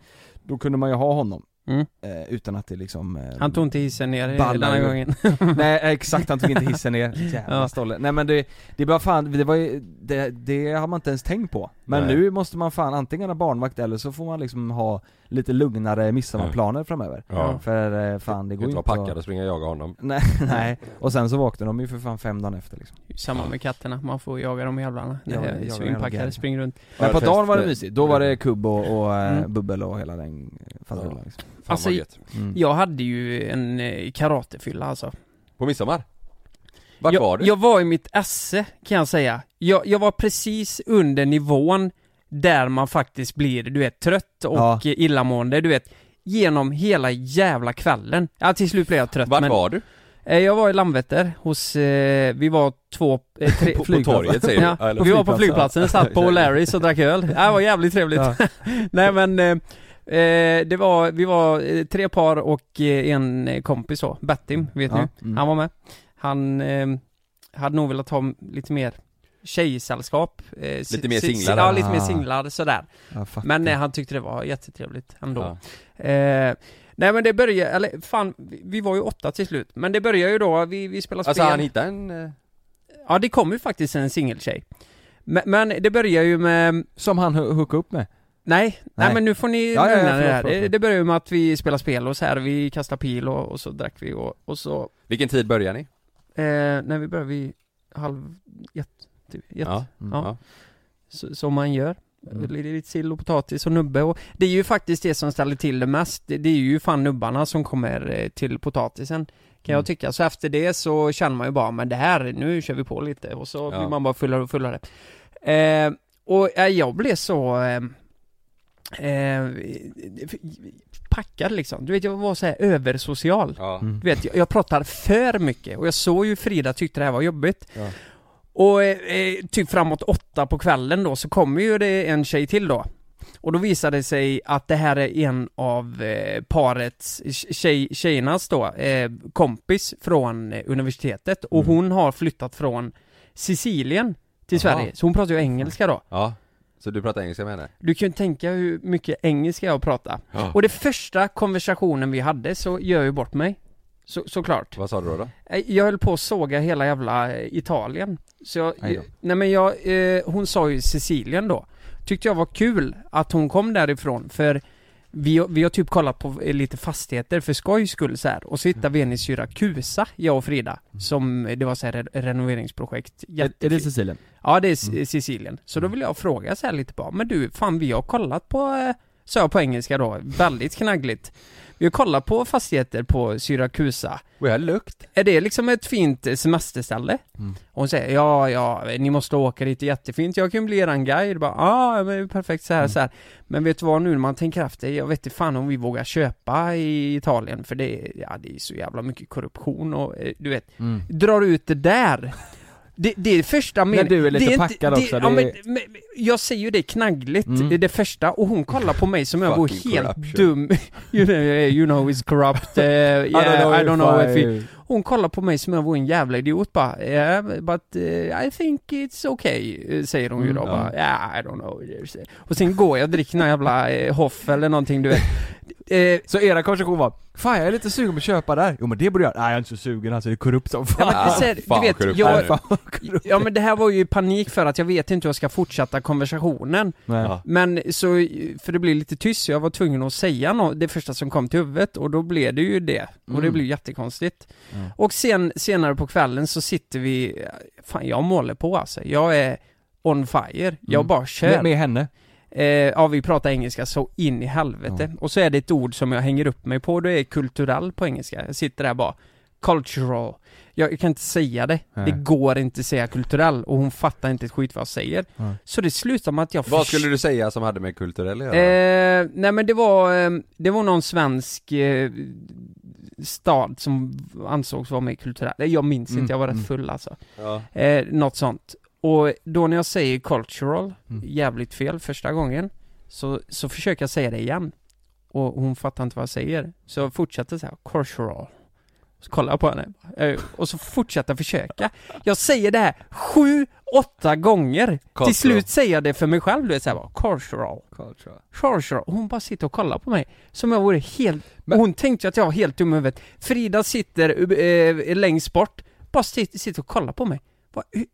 då kunde man ju ha honom. Mm. Eh, utan att det liksom... Eh, Han tog inte hissen ner ballar den här ur. gången. Nej eh, exakt, han tog inte hissen ner. Jävla Ja. stolle. Nej men det, det var fan, det var ju, det, det har man inte ens tänkt på. Men Nej. nu måste man fan antingen ha barnvakt eller så får man liksom ha lite lugnare midsommarplaner framöver. Ja. För eh, fan Det det går går ju inte inte vara packad och springa och jaga honom. Nej, nej. Och sen så vaknade de ju för fan fem dagar efter liksom. Samma med katterna, man får jaga de jävlarna. Ja, Ja, jaga de så jävla inpackade, gärna. springer runt. Men på Ja, dagen var det fest- mysigt, då var det kubb och, och eh, eh, Mm. bubbel och hela den faderullan liksom. Fan Alltså, vad gött. Mm. Jag hade ju en eh, karatefylla alltså. På midsommar? Vart jag, var du? Jag var i mitt esse kan jag säga. Jag, jag var precis under nivån där man faktiskt blir, du vet, trött och eh, Ja. illamående, du vet, genom hela jävla kvällen. Ja, till slut blev jag trött Vart men... var du? Eh, Jag var i Landvetter hos, eh, vi var två, eh, tre, På- på torget, säger du? Ja, ja, eller- Vi var på flygplatsen. flygplatsen, satt på O'Larrys och drack öl. Ja, Det var jävligt trevligt. Ja. Nej men, eh, eh, det var, vi var eh, tre par och eh, en eh, kompis så, Bettim, vet Ja, ni? mm. Han var med. Han eh, hade nog velat ha lite mer tjejsällskap. eh, si- Lite mer si- singlar. Ja, lite mer Ah. singlar sådär. Jag fattar. Men eh, han tyckte det var jättetrevligt ändå. Ja. Eh, nej men det började, eller fan, vi- vi var ju åtta till slut. Men det började ju då, vi, vi spelade Alltså spel. han hittade en... eh, Ja det kom ju faktiskt en singeltjej. Men, men det börjar ju med, nej, Som han hu- hookade upp med. nej, Nej. men nu får ni Ja, ja, ja, lugna er förlåt, här. förlåt, Det, förlåt. det börjar ju med att vi spelar spel och så här, vi kastar pil och, och så drack vi och, och så, Vilken tid börjar ni? eh, när vi började vi halv ett, typ, ett. Ja. Mm. Ja. Ja. Så, som man gör. Mm. Lite lite sill och potatis och nubbe och det är ju faktiskt det som ställer till det mest. Det det är ju fan nubbarna som kommer eh, till potatisen. Kan Mm. jag tycka. Så efter det så känner man ju bara, men det här, nu kör vi på lite. Och så Ja. blir man bara fullare och fullare. Eh, och eh, jag blev så... Eh, eh, packad liksom. Du vet, jag var så här översocial. Ja. Mm. Du vet, jag, jag pratar för mycket och jag såg ju Frida tyckte det här var jobbigt. Ja. Och eh, eh, typ framåt åtta på kvällen då så kommer ju det en tjej till då. Och då visade det sig att det här är en av eh, parets, tjej, tjejernas då, eh, kompis från eh, universitetet och hon har flyttat från Sicilien till Mm. Jaha. Sverige, så hon pratar ju engelska då. ja. Så du pratar engelska med henne? Du kan ju tänka hur mycket engelska jag pratar. Ja. Och det första konversationen vi hade så gör jag ju bort mig. Så, såklart. Vad sa du då? då? Eh, Jag höll på att såga hela jävla eh, Italien. Så jag, Aj då. nej men jag, eh, hon sa ju Sicilien då. Tyckte jag var kul att hon kom därifrån för vi, har- vi har typ kollat på eh, lite fastigheter för skojs skull så här. Och så Mm. hittade vi en i Syrakusa, jag och Frida. Som, eh, det var så här re- renoveringsprojekt. Är, är det Cecilien? Ja, det är Mm. S- eh, Sicilien. Så då vill jag fråga så här lite bara, men du, fan vi har kollat på, eh, sa jag på engelska då, väldigt knaggligt. Vi har kollat på fastigheter på Syrakusa. Och jag lukt. Är det liksom ett fint eh, semesterställe? Mm. Och hon säger, ja, ja, ni måste åka dit, det är jättefint, jag kan ju bli eran guide. Bara, ah, men det är perfekt Mm. så här, så här. Men vet du vad, nu när man tänker efter, jag vet inte fan om vi vågar köpa i Italien, för det, är- ja, det är så jävla mycket korruption och eh, du vet, Mm. drar ut det där. Det, det är första meningen. du är lite det packad det, också, Ja, det men, är- men, jag säger ju det knaggligt, det är det första, och hon kollar på mig som jag vore Fucking helt corruption. dum. you, know, you know he's corrupt, eh, yeah, I don't know, if he... Hon kollar på mig som om jag vore en jävla idiot bara, yeah, but eh, I think it's okay, eh, säger hon ju då bara, yeah, I don't know. Och sen går jag och dricker någon jävla eh, hoff eller någonting du vet. Eh, Så era konversation var 'Fan jag är lite sugen på att köpa där' Jo men det borde jag, nej jag är inte så sugen alltså, det är korrupt som fan ja, men, så här, Ah, fan, du vet, korrupt jag, är Fan. ja men det här var ju i panik för att jag vet inte hur jag ska fortsätta konversationen. Nej. Ja. Men så, för det blev lite tyst, så jag var tvungen att säga något, det första som kom till huvudet och då blev det ju det. Och Mm. det blev jättekonstigt. Och sen, senare på kvällen så sitter vi, fan jag målar på alltså. Jag är on fire, jag Mm. bara kör. Med, med henne? Eh, ja, vi pratar engelska så in i helvete. Och så är det ett ord som jag hänger upp mig på, det är kulturell på engelska. Jag sitter där bara, Cultural. Jag, jag kan inte säga det. Nej. Det går inte säga kulturell och hon fattar inte ett skit vad jag säger. Nej. Så det slutar med att jag Vad skulle du säga som hade med kulturell att göra? Eh, nej men det var, eh, det var någon svensk eh, stad som ansågs vara mer kulturell. Nej, Jag minns Mm, inte, jag var mm. rätt full alltså. Ja. Eh, något sånt. Och då när jag säger cultural, Mm. jävligt fel första gången, så, så försöker jag säga det igen. Och hon fattar inte vad jag säger. Så jag fortsätter så här, cultural. Så kollar jag på henne, eh, och så fortsätter jag försöka. Jag säger det här sju, åtta gånger. Cultural. Till slut säger jag det för mig själv, du vet såhär bara, cultural. Charger, hon bara sitter och kollar på mig som jag vore helt... och Hon tänkte att jag var helt dum i huvudet. Frida sitter eh, längst bort, bara sit- sitter och kollar på mig. Vad, hur,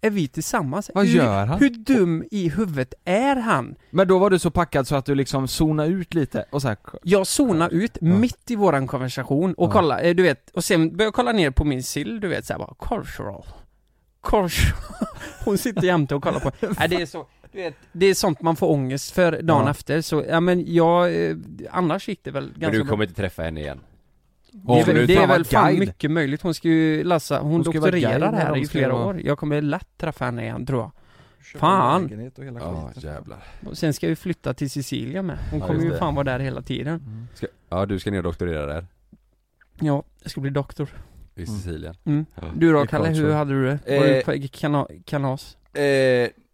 är vi tillsammans? Vad hur, gör han? Hur dum i huvudet är han? Men då var du så packad så att du liksom zonade ut lite och så här, Jag zonar ut mitt i våran konversation och Ja. kollar, eh, du vet, och sen börjar jag kolla ner på min sill, du vet såhär bara, cultural. Cultural. Hon sitter jämte och kollar på mig. Nej, det är så, du vet, det är sånt man får ångest för dagen Ja. efter, så, ja men jag, eh, annars gick det väl ganska Men du bra. kommer inte träffa henne igen? Det är, väl- det är väl fan guide. mycket möjligt, hon ska ju Lassa, hon, Hon ska ju vara doktorerar guide när här de i ska flera vara- år. Jag kommer lätt träffa henne igen tror jag Köpa en Fan! lägenhet och hela Ja, skiten. jävlar. Och sen ska vi flytta till Sicilien med, hon Ja, kommer just ju det. fan vara där hela tiden Ska, ja, du ska ner och doktorera där. Ja, jag ska bli doktor I Sicilien. mm. Ja. Du Det då är Kalle, klart hur så. hade du det? Var du Eh, på kana- kalas? Eh,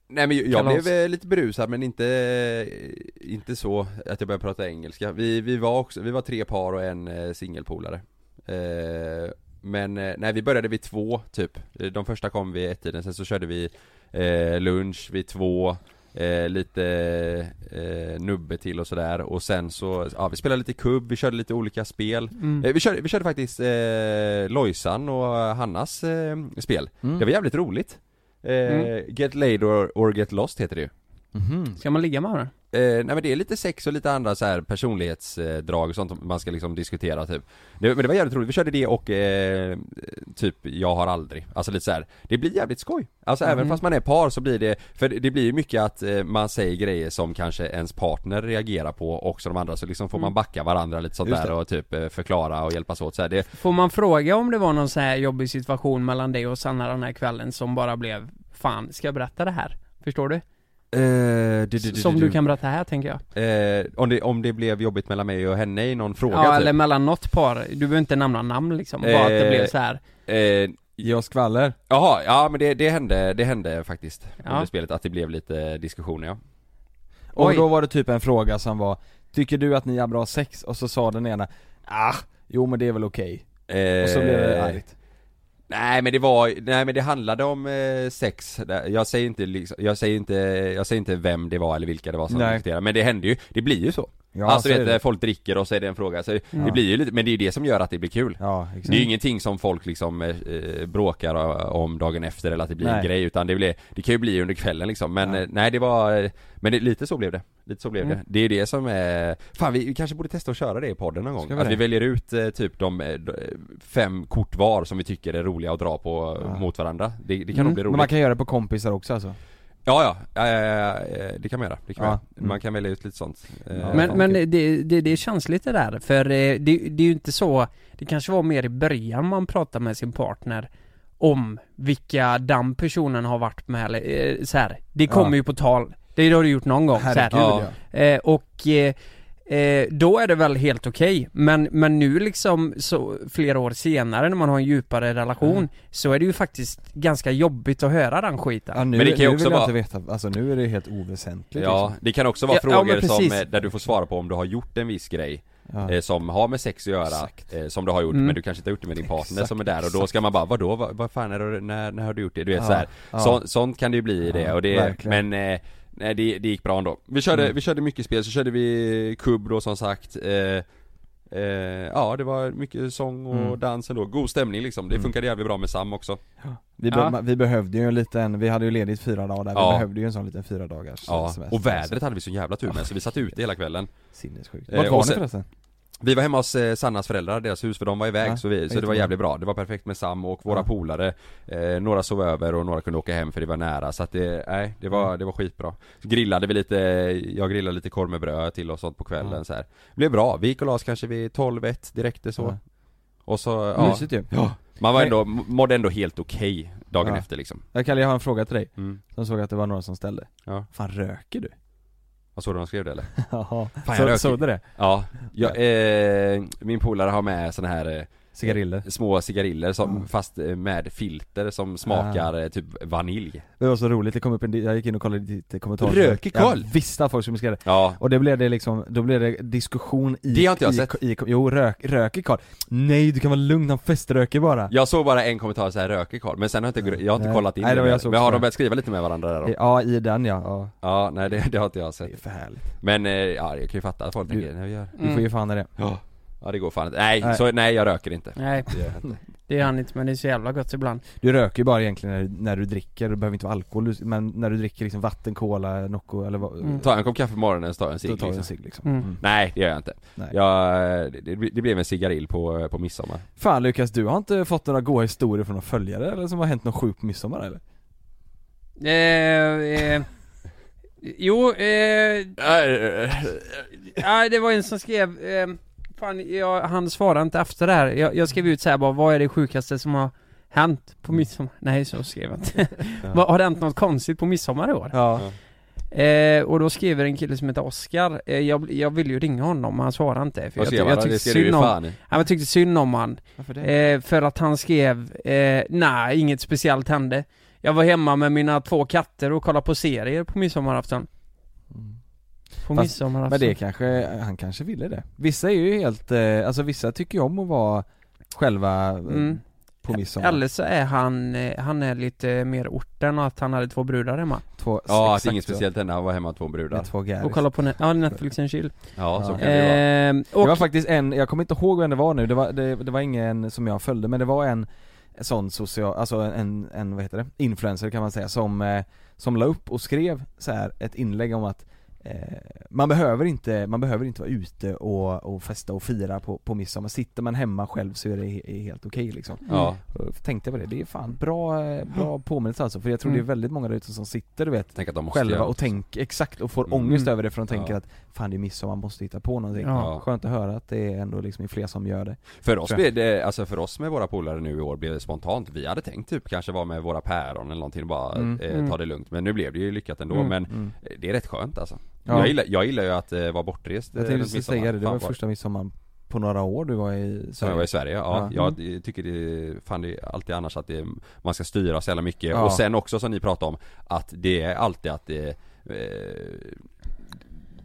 nej men jag Kalas. blev eh, lite berusad men inte, eh, inte så att jag började prata engelska. Vi, vi var också, vi var tre par och en eh, singelpolare. Eh, men eh, nej vi började vid två typ. Eh, De första kom vid ett-tiden, sen så körde vi eh, lunch vid två, eh, lite eh, nubbe till och sådär och sen så, ja vi spelade lite kubb, vi körde lite olika spel. Mm. Eh, vi, körde, vi körde faktiskt eh, Lojsan och Hannas eh, spel. Mm. Det var jävligt roligt. Eh, Mm. Get laid or, or get lost heter det ju. Ska man ligga med varandra? Eh, nej men det är lite sex och lite andra så här personlighetsdrag och sånt man ska liksom diskutera typ. Det, men det var jävligt roligt, vi körde det och eh, typ jag har aldrig. Alltså lite så här. det blir jävligt skoj. Alltså även Mm. fast man är par så blir det, för det det blir ju mycket att eh, man säger grejer som kanske ens partner reagerar på och så de andra så liksom får man backa varandra lite sånt Just där det. och typ eh, förklara och hjälpas åt så här. Det, Får man fråga om det var någon så här jobbig situation mellan dig och Sanna den här kvällen som bara blev Fan, ska jag berätta det här? Förstår du? Eh, Som du kan berätta här tänker jag Eh, om, det, om det blev jobbigt mellan mig och henne i någon fråga Ja typ. eller mellan något par, du behöver inte nämna namn liksom, bara att det Eh, blev så här. Eh, jag skvaller? Jaha, ja men det, det hände, det hände faktiskt Ja. under spelet att det blev lite diskussioner ja. Och Oj. då var det typ en fråga som var Tycker du att ni har bra sex? Och så sa den ena Ah, jo men det är väl okej Och så blev det Eh, argt Nej men det var, nej men det handlade om eh, sex, jag säger inte liksom, jag säger inte, jag säger inte vem det var eller vilka det var som Nej. diskuterade, men det hände ju, det blir ju så Ja, Alltså så vet är du, det. folk dricker och så är det en fråga, så Ja. det blir ju lite, men det är ju det som gör att det blir kul Ja, exakt. Det är ju ingenting som folk liksom eh, eh, bråkar eh, om dagen efter eller att det blir en Nej. grej utan det, blir, det kan ju bli under kvällen liksom men eh, nej det var, eh, men det, lite så blev det Lite så blev Mm. det. Det är det som är, fan vi, vi kanske borde testa att köra det i podden någon gång. Ska Att vi det? vi väljer ut eh, typ de eh, d- fem kort var som vi tycker är roliga att dra på eh, Ja. Mm. mot varandra. Det, det kan nog bli Men roligt. man kan göra det på kompisar också alltså? Ja ja, eh, eh, det kan man göra. Det kan man, Ja. Mm. göra. man kan välja ut lite sånt. eh, Men, sånt. men det, det, det är känsligt det där, för eh, det, det är ju inte så Det kanske var mer i början man pratade med sin partner Om vilka damm personen har varit med eller eh, så här. Det Ja. kommer ju på tal Det har du gjort någon gång så här. Herregud, Eh, Och eh, eh, då är det väl helt okej, men, men nu liksom så flera år senare när man har en djupare relation Så är det ju faktiskt ganska jobbigt att höra den skiten Ja, nu, Men det kan ju nu också vill jag vara- inte veta, alltså nu är det helt oväsentligt Ja, liksom. det kan också vara Ja, ja, frågor men precis. som, eh, där du får svara på om du har gjort en viss grej Ja. eh, Som har med sex att göra, eh, som du har gjort Mm. men du kanske inte har gjort det med din partner Exakt, som är där och då exakt. ska man bara vadå, vad, vad fan är det, när, när har du gjort det? Du vet Ja, så här. ja. Så, sånt kan det ju bli i det Ja, och det, verkligen. men eh, nej det, det gick bra ändå Vi körde, Mm. vi körde mycket spel, så körde vi kubb då som sagt eh, Eh, ja det var mycket sång och Mm. dans ändå, god stämning liksom. Det Mm. funkade jävligt bra med Sam också vi, be- ma- vi behövde ju en liten, vi hade ju ledigt fyra dagar där, vi Ja. behövde ju en sån liten fyra dagars Ja, semester. och vädret hade vi så jävla tur med så vi satt ute hela kvällen Sinnessjukt. Eh, Vart och var ni sen- förresten? Vi var hemma hos eh, Sannas föräldrar, deras hus, för de var iväg Ja, så, vi, så det jättebra. var jävligt bra. Det var perfekt med Sam och våra Ja. polare. Eh, några sov över och några kunde åka hem för det var nära så att det, nej, det Mm. var, det var skitbra. Så grillade vi lite, jag grillade lite korv med bröd till och sånt på kvällen Ja. så här. Det blev bra, vi gick och la oss kanske vid 12 1 direkt det så. Ja. Och så, ja. Mysigt ju. ja. Man var Nej. ändå, mådde ändå helt okej dagen Ja. efter liksom Jag Kalle, jag har en fråga till dig. Mm. Som såg att det var några som ställde. Ja. Fan, röker du? Vad såg du de skrev det eller? Jaha. Fan, jag Så- röker. såg du det? Ja, jag, eh, min polare har med såna här eh, Cigariller. Små cigariller som, fast eh, med filter som smakar eh, typ vanilj Det var så roligt, det kom upp en, jag gick in och kollade i ditt eh, kommentar Röker Karl? Jag visste att folk skulle skriva det Ja. Och det blev det liksom, då blev det diskussion i Det har inte jag i, sett. i, Jo, rök, röker Karl? Nej du kan vara lugn, han feströker bara Jag såg bara en kommentar såhär, röker Karl? Men sen har jag inte, jag har inte Nej. kollat in Nej, det var mer. jag såg Men har också. de börjat skriva lite med varandra där då? Ja, i den ja, ja. Ja, nej det, det har inte jag sett. Det är för härligt. Men eh, ja, jag kan ju fatta att folk tänker, nej vi gör. Du får ge fan i det Ja. Ja det går fan inte. Nej, Nej. Så, nej jag röker inte. Nej, Det gör jag inte. det är han inte men det är så jävla gott ibland. Du röker ju bara egentligen när, du- när du dricker, det behöver inte vara alkohol du- Men när du dricker liksom vatten, cola, Nocco eller vad Mm. Ta en kopp kaffe på morgonen så tar jag en cigg Då tar jag en cigg, liksom. Mm. Mm. Nej det gör jag inte. Nej. Jag, det, det blev en cigarill på, på midsommar. Fan Lukas, du har inte fått några goa historier från några följare eller som har hänt något sjukt på midsommar eller? Eh, eh, jo, eh, nej, det var en som skrev, eh, fan jag, han svarade inte efter det här. Jag, jag skrev ut så här bara, vad är det sjukaste som har hänt på midsommar? Nej, så skrev jag inte. Ja. Vad- har det hänt något konstigt på midsommar i år? Ja. Eh, och då skriver en kille som heter Oscar, eh, jag, jag ville ju ringa honom men han svarade inte för Vad jag, skrev ty- han jag då? tyckte Det skrev du ju synd om, fan i. ja, men jag tyckte synd om han Varför det? eh, För att han skrev, eh, nej inget speciellt hände Jag var hemma med mina två katter och kollade på serier på midsommarafton På Fast- midsommarafton Men det kanske, han kanske ville det. Vissa är ju helt, eh, alltså vissa tycker ju om att vara själva eh, Mm. på midsommar. Eller så är han, eh, han är lite mer orten och att han hade två brudar hemma Två, Ja, att exakt inget så. speciellt hände, han var hemma med två brudar. Med två gäris. Och kollade på net- ja, Netflix and chill Ja, så Ja. Eh, kan det vara. Ehm, och, Det var faktiskt en, jag kommer inte ihåg vem det var nu, det var, det, det var ingen som jag följde men det var en sån social, alltså en, en vad heter det, influencer kan man säga som, eh, som la upp och skrev så här ett inlägg om att eh, man behöver inte, man behöver inte vara ute och, och festa och fira på, på midsommar, sitter man hemma själv så är det he- är helt okej liksom. Mm. Ja. Och Tänkte jag på det, det är fan bra, eh, bra påminnelse alltså för jag tror Mm. det är väldigt många där ute som sitter du vet Tänk att de måste själva göra och något. tänker, exakt, och får Mm. ångest Mm. över det för de tänker Ja. att fan det är midsommar, man måste hitta på någonting. Ja. Skönt att höra att det är ändå liksom fler som gör det. För oss Tror jag. blev det, alltså för oss med våra polare nu i år blev det spontant, vi hade tänkt typ kanske vara med våra päron eller någonting och bara Mm. eh, ta det lugnt Men nu blev det ju lyckat ändå Mm. men Mm. eh, det är rätt skönt alltså Ja. jag, gillar, jag gillar ju att eh, vara bortrest eh, Jag tänkte runt precis midsommar. säga det, det Fan, var vad- första midsommar på några år du var i Som jag var i Sverige, ja. Ja. Mm. Jag eh, tycker det, fan det är alltid annars att det, man ska styra så jävla mycket Ja. och sen också som ni pratade om att det är alltid att det eh,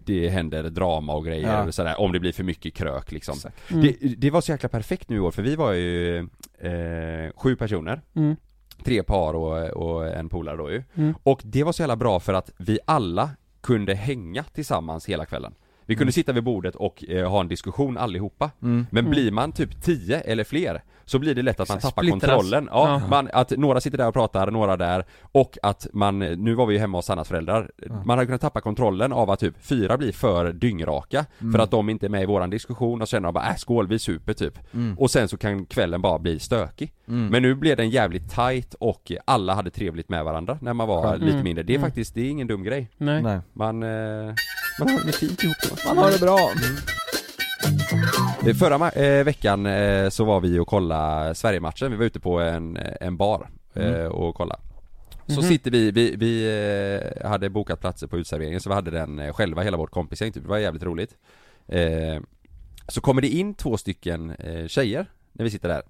det händer drama och grejer Ja. och sådär, om det blir för mycket krök liksom. Exakt. Mm. Det, det var så jäkla perfekt nu i år för vi var ju eh, sju personer Mm. Tre par och, och en polare då ju. Mm. Och det var så jävla bra för att vi alla kunde hänga tillsammans hela kvällen. Vi Mm. kunde sitta vid bordet och eh, ha en diskussion allihopa. Mm. Men blir man typ 10 eller fler så blir det lätt att man Exakt, tappar splittras. kontrollen. Ja, Ja. Man, att några sitter där och pratar, några där. Och att man, nu var vi ju hemma hos Sannas föräldrar. Man hade kunnat tappa kontrollen av att typ fyra blir för dyngraka. För att de inte är med i våran diskussion och sen de bara äh, skål vi super typ. Och sen så kan kvällen bara bli stökig. Men nu blev den jävligt tight och alla hade trevligt med varandra när man var Skönt. lite Mm. mindre. Det är Mm. faktiskt, det är ingen dum grej. nej. Nej. Man, eh, man har det fint ihop då. Mm. Man har det bra! Eh, Förra ma- eh, veckan eh, så var vi och kolla Sverigematchen, vi var ute på en, eh, en bar eh, Mm. och kolla Så Mhm. sitter vi, vi, vi eh, hade bokat platser på utserveringen så vi hade den eh, själva, hela vårt kompisgäng typ, det var jävligt roligt eh, Så kommer det in två stycken eh, tjejer när vi sitter där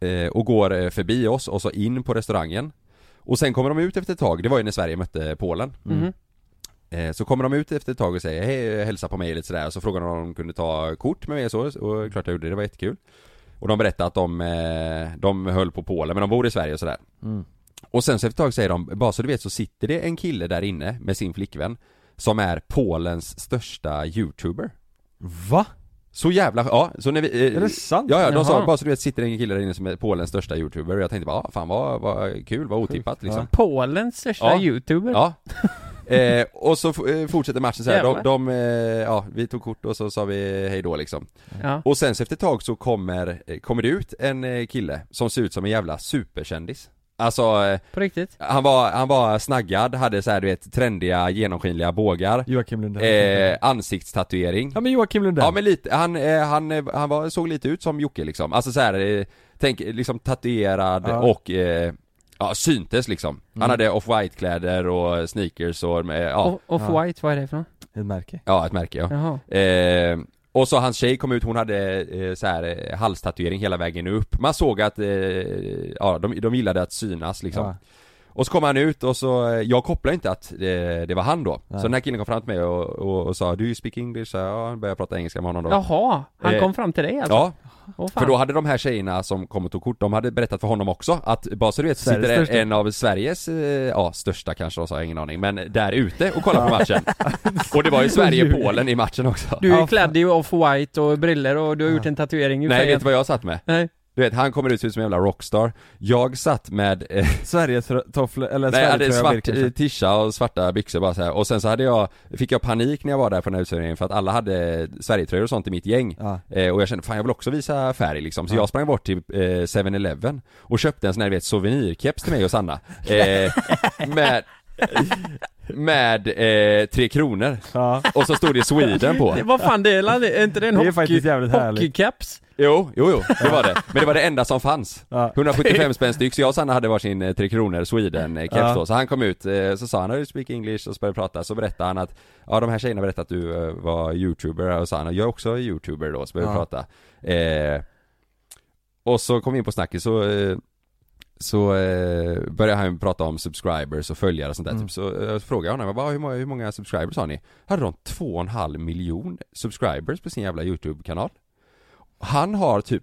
eh, Och går eh, förbi oss och så in på restaurangen Och sen kommer de ut efter ett tag, det var ju när Sverige mötte Polen Mhm. Eh, Så kommer de ut efter ett tag och säger hej, hälsa på mig lite sådär, så frågar de om de kunde ta kort med mig och så, och klart jag gjorde det, det var jättekul Och de berättade att de, eh, de höll på Polen, men de bor i Sverige och sådär Mm. Och sen så efter ett tag säger de, bara så du vet så sitter det en kille där inne med sin flickvän Som är Polens största youtuber Va? Så jävla, ja, så när vi... eh, Är det sant? Ja, ja, de sa Jaha. bara så du vet sitter det en kille där inne som är Polens största youtuber och jag tänkte bara, ah, fan vad, vad kul, vad otippat liksom Polens största Ja. youtuber Ja eh, Och så f- eh, fortsätter matchen så här. de, Jävlar. de eh, ja, vi tog kort och så sa vi hej då liksom Ja. Och sen så efter ett tag så kommer, eh, kommer det ut en eh, kille som ser ut som en jävla superkändis Alltså, eh, På riktigt? han var, han var snaggad, hade så här, du vet trendiga genomskinliga bågar Joakim Lundell. eh, Ansiktstatuering Ja men Joakim Lundell. Ja men lite, han, eh, han, eh, han var, såg lite ut som Jocke liksom, alltså så här, eh, tänk eh, liksom tatuerad Ja. och eh, Ja, syntes liksom. Han Mm. hade off-white kläder och sneakers och, eh, ja. O- Off-white, vad är det för något? Ett märke. Ja, ett märke Jaha. ja. Eh, och så hans tjej kom ut, hon hade eh, så här, eh, halstatuering hela vägen upp. Man såg att, eh, ja de, de gillade att synas liksom. Ja. Och så kom han ut och så, eh, jag kopplade inte att eh, det var han då. Nej. Så den här killen kom fram till mig och, och, och sa 'Do you speak English?' Så jag, ja, han började prata engelska med honom då. Jaha, han Eh, kom fram till dig alltså? Ja, Åh, fan. för då hade de här tjejerna som kom och tog kort, de hade berättat för honom också att bara så du vet Sveriges sitter en, största. en av Sveriges, eh, ja största kanske de sa, jag har ingen aning, men där ute och kollar på matchen. och det var ju Sverige-Polen i matchen också. Du är Ja, ju klädd i off-white och briller och du har gjort en tatuering i Nej, fejan. vet du vad jag satt med? Nej. Du vet, han kommer ut som en jävla rockstar. Jag satt med, eh, Sveriges tofflor, eller nej, jag hade Sverigetröja svart Birkenstock. eh, tisha och svarta byxor bara så här. och sen så hade jag, fick jag panik när jag var där på den här utställningen för att alla hade eh, Sverigetröjor och sånt i mitt gäng. Ja. Eh, och jag kände, fan jag vill också visa färg liksom. Så Ja. jag sprang bort till eh, 7-Eleven och köpte en sån här, du vet, souvenirkeps till mig och Sanna. Eh, med, med eh, Tre Kronor. Ja. Och så stod det Sweden på. Det- Vad fan det är, är inte det en Det är hockey, faktiskt jävligt härligt. hockeycaps? Jo, jo, jo, det var det. Men det var det enda som fanns. Ja. 175 spänn styck, så jag och Sanna hade varsin eh, Tre Kronor Sweden-keps Ja. då. Så han kom ut, eh, så sa han 'Do you speak English?' och så började vi prata, så berättade han att Ja de här tjejerna berättade att du eh, var youtuber och så sa han 'Jag är också youtuber' då, så började vi Ja. prata. Eh, och så kom vi in på snacket så eh, så eh, började han prata om subscribers och följare och sånt där Mm. typ. Så eh, frågade jag honom, jag bara, "Ah, hur, många, hur många subscribers har ni? Hade de två och en halv miljon subscribers på sin jävla YouTube-kanal? Han har typ,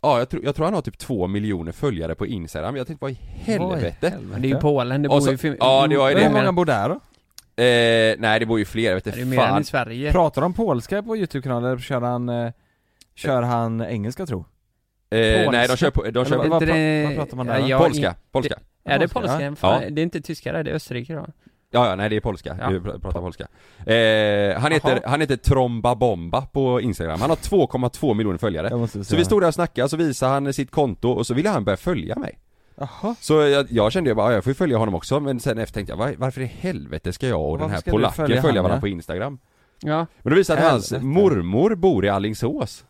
ja jag, tror jag tror han har typ två miljoner följare på Instagram, jag tänkte vad i helvete? Det är ju Polen, det Och bor så- ju fem- ja, det var ju Hur det. mer- många bor där då? Eh, nej det bor ju fler, jag vet Det är inte mer än fan. i Sverige. Pratar de polska på Youtube-kanalen eller kör han, eh, kör han engelska tro? Eh, nej de Polska. kör, på, de Eller kör vad- Inte det- vad pratar man där Ja, då? jag- polska, polska. Är det Polska, polska? Ja. Fan, Det är inte tyskare, det är Österrike då. Ja, ja, nej det är polska. Ja. Vi pr- pratar polska. Eh, han, heter, han heter Tromba Bomba på Instagram. Han har 2,2 miljoner följare. Jag måste Så vi stod där och snackade, så visade han sitt konto och så ville han börja följa mig. Jaha, Så jag, jag kände ju bara, "Ja, jag får ju följa honom också, men sen efter tänkte jag, "Var- varför i helvete ska jag och den Varför här ska du polacken följa följa, han, varandra ja? på Instagram? Ja. Men då visade det att hans Helvete. mormor bor i Alingsås.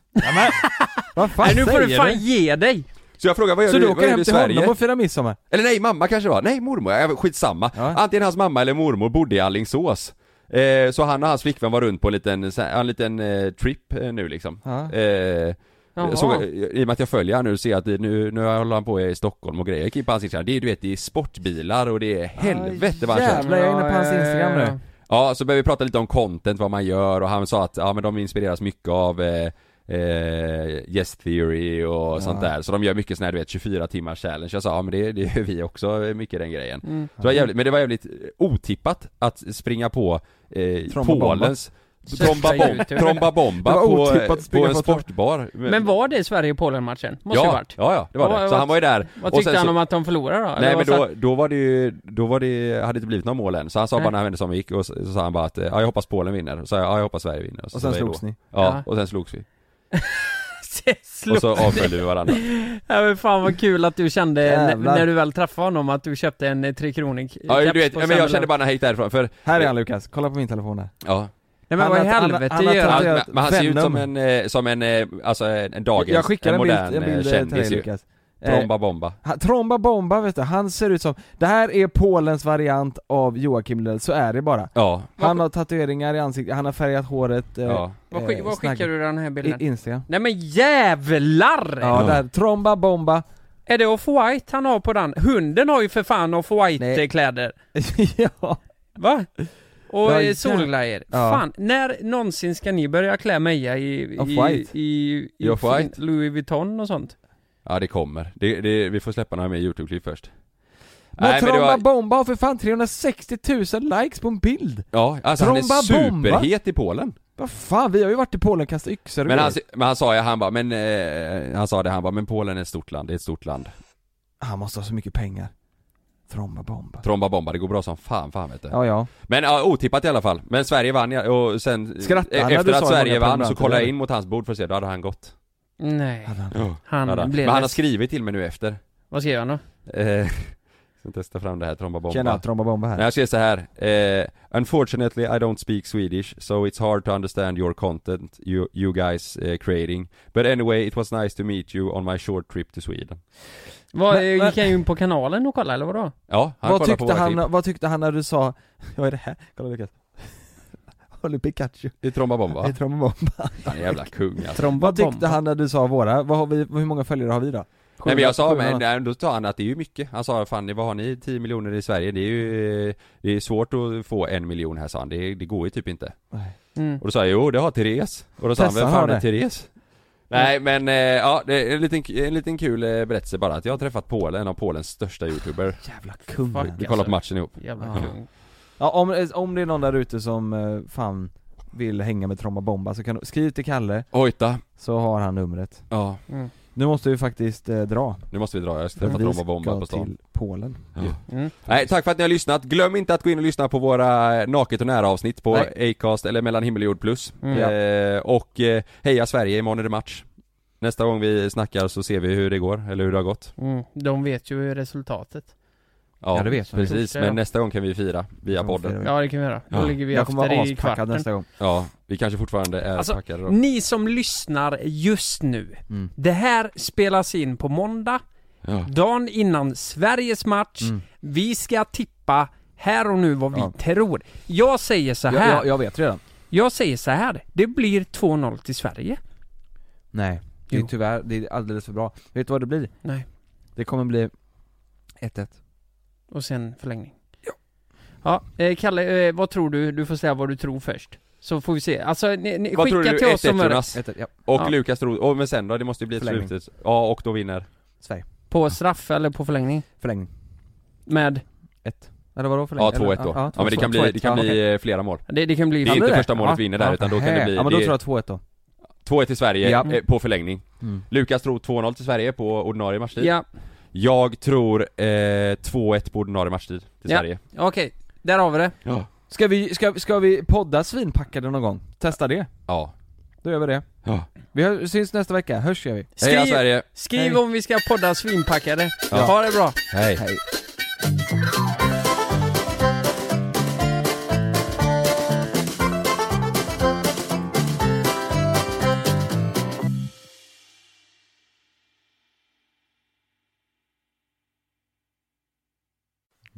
vad fan Nej, nu får du säger fan du? ge dig! Så jag frågade, vad gör Så du, du vad åker gör du hem i till Sverige? honom och firar midsommar? Eller nej, mamma kanske det var, nej mormor, ja, skitsamma. Ja. Antingen hans mamma eller mormor bodde i Alingsås. Eh, så han och hans flickvän var runt på en liten, så här- en liten eh, trip eh, nu liksom. Ja. Eh, Jaha. så, eh, I och med att jag följer han nu ser jag att det- nu, nu håller han på i Stockholm och grejer. Jag gick in på hans Instagram, det är du vet, det är sportbilar och det är helvete vad han kör. Jävlar, jag är inne på hans Ja, Instagram ja, ja. nu. Ja, så började vi prata lite om content, vad man gör och han sa att ja men de inspireras mycket av eh, Eh, yes theory och sånt där, så de gör mycket sån här du vet 24 timmars challenge Jag sa ja men det, det gör vi också, eh, mycket den grejen Mm. så det var jävligt, Men det var jävligt eh, otippat att springa på eh, Tromba bomba. Polens Tromba, bom, YouTube. tromba bomba Det var på, otippat eh, att springa på en på trom- sportbar Men var det Sverige-Polen-matchen? Måste det ja, varit. ja, ja, det var Ja, det. Så vad- han var ju där Vad Och tyckte sen han så- om att de förlorade då? Nej men Eller vad då, sa- då var det ju, då var det, hade det blivit några mål än, så han sa Nej. bara när han vände sig om och gick och så, så sa han bara att eh, ja, jag hoppas Polen vinner, och så sa jag ja jag hoppas Sverige vinner Och sen sa jag då. slogs ni. Ja, Ja. och sen slogs vi. Se, slå- Och så avföljde vi varandra. Ja men fan vad kul att du kände n- Jävlar. när du väl träffade honom att du köpte en eh, Tre Kronor Ja du vet, men jag kände bara när jag gick därifrån för, Här är han Lukas, kolla på min telefon där. ja. Nej men vad i Han har- han har- helvete han har gör Han, tatuerat- är han? men, ett men han ser ju ut som Venom. en, eh, som en, eh, alltså en, en dagens, Jag skickar en en bild, modern en bild eh, eh, till dig kändis ju. Lukas. Eh, Tromba bomba. han- Tromba Bomba vet du, han ser ut som, det här är Polens variant av Joakim Lundell, så är det bara. Ja, Han har tatueringar i ansiktet, han har färgat håret, eh, ja. Vad skick- vad skickar du den här bilden? I Instagram. Nej men jävlar! Ja, där. Tromba Bomba. Är det off-white han har på den? Hunden har ju för fan Nej. off-white eh, kläder. ja. Va? Och Ja, eh, ja. solglajjor. Ja. Fan, när någonsin ska ni börja klä Meja i... i- Off-white. I, i, I off-white. Louis Vuitton och sånt. Ja det kommer. Det, det, vi får släppa några mer Youtube-klipp först. Men Nej, men det Tromba var- Bomba har för fan 360 000 likes på en bild! Ja, alltså han Tromba är bomba. superhet i Polen. Vad fan, vi har ju varit i Polen och kastat yxor och Men alltså- grejer. han, men han sa ju, han bara, men eh, han sa det, han bara, men Polen är ett stort land, det är ett stort land. Han måste ha så mycket pengar. Tromba Bomba. Tromba bomba, det går bra som fan, fan vet du. Ja, ja. Men ja, otippat i alla fall. Men Sverige vann ja, och sen eh, Skrattade han när efter du sa att hur många Sverige vann så prenumeranter kollade det jag är? in mot hans bord för att se, då hade han gått. Nej. Hade han- Han Hade blev... Men han har leds- skrivit till mig nu efter. Vad skrev han då? Eh, Ska testa fram det här Tromba Bomba. Tjena, Tromba Bomba här. Nej, jag ser så här. Eh, unfortunately I don't speak Swedish, so it's hard to understand your content you, you guys eh, creating. But anyway, it was nice to meet you on my short trip to Sweden. Vad, eh, Men- gick men- han in på kanalen och kollade eller vadå? Ja, han vad, kollar på tyckte våra han, klipp. vad tyckte han när du sa, vad är det här? Kolla Lukas Håller Pikachu Det är Tromba Bomba. Det är Tromba Bomba Han är jävla kung alltså. Vad tyckte han när du sa våra? Vad har vi, hur många följare har vi då? Nej men jag sa, 700. men nej, då sa han att det är ju mycket. Han sa Fanny, vad har ni 10 miljoner i Sverige? Det är ju eh, det är svårt att få en miljon här sa han, det, det går ju typ inte. Mm. Och då sa jag, jo det har Therese. Och då sa han, Tessan vem fan har är det." Therese? Nej men, eh, ja det är en liten, en liten kul eh, berättelse bara att jag har träffat Polen, en av Polens största youtuber. Jävla kung Fuck, Vi kollar på matchen ihop. Jävla Ja. kung. Ja, om, om det är någon där ute som eh, fan vill hänga med Tromba Bomba så kan du, skriv till Kalle Ojta. så har han numret Ja, Mm. Nu måste vi faktiskt eh, dra nu måste vi dra, jag har Men träffat vi Roma Bomba ska på stan. till Polen Ja. Mm. Nej, tack för att ni har lyssnat. Glöm inte att gå in och lyssna på våra Naket och nära avsnitt på Acast eller Mellan himmel och jord plus. Mm. Eh, och eh, heja Sverige, imorgon är det match. Nästa gång vi snackar så ser vi hur det går, eller hur det har gått. Mm. De vet ju resultatet. Ja, det vet vi. Precis, men nästa gång kan vi fira via Ja, podden. fira. Ja det kan vi göra. Då Ja. ligger vi Jag kommer efter vara i aspackad kvarten. nästa gång Ja, vi kanske fortfarande är Alltså, packade då. Ni som lyssnar just nu. Mm. Det här spelas in på måndag. Ja. Dagen innan Sveriges match. Mm. Vi ska tippa här och nu vad vi Ja. tror. Jag säger så jag, här. jag, jag vet redan Jag säger så här. Det blir 2-0 till Sverige. Nej, det är Jo. tyvärr, det är alldeles för bra Vet du vad det blir? Nej. Det kommer bli 1-1 Och sen förlängning. Ja. Ja, eh, Kalle, eh, vad tror du? Du får säga vad du tror först. Så får vi se. Alltså, ni, ni, Vad tror skicka du? till oss 1-1 som är Jonas? 1-1, ja, Och Ja. Lukas tror, och men sen då? Det måste ju bli ett Förlängning. slutet. Ja, och då vinner. Sverige, på straff eller på förlängning. förlängning Med, 1 Eller vadå förlängning? Ja, 2-1 då. Ja, men det kan 2-1. bli, det kan Ja, okej. bli eh, flera mål. det, det kan bli... Det är Ja, inte det. första målet Ja. vi vinner där, utan då kan det Nähä. bli... Ja men då det- tror jag 2-1 då 2-1 till Sverige Ja. eh, på förlängning. Mm. Lukas tror 2-0 till Sverige på ordinarie matchtid. Ja, Jag tror eh, 2-1 på ordinarie matchtid till Ja. Sverige. okej. Där har vi det. Ja. Ska vi, ska, ska vi podda svinpackade någon gång? Testa det, Ja. då gör vi det Ja. Vi hör, syns nästa vecka, hörs gör vi Heja Sverige! skriv Hej. om vi ska podda svinpackade. Ja. Ha det bra. Hej!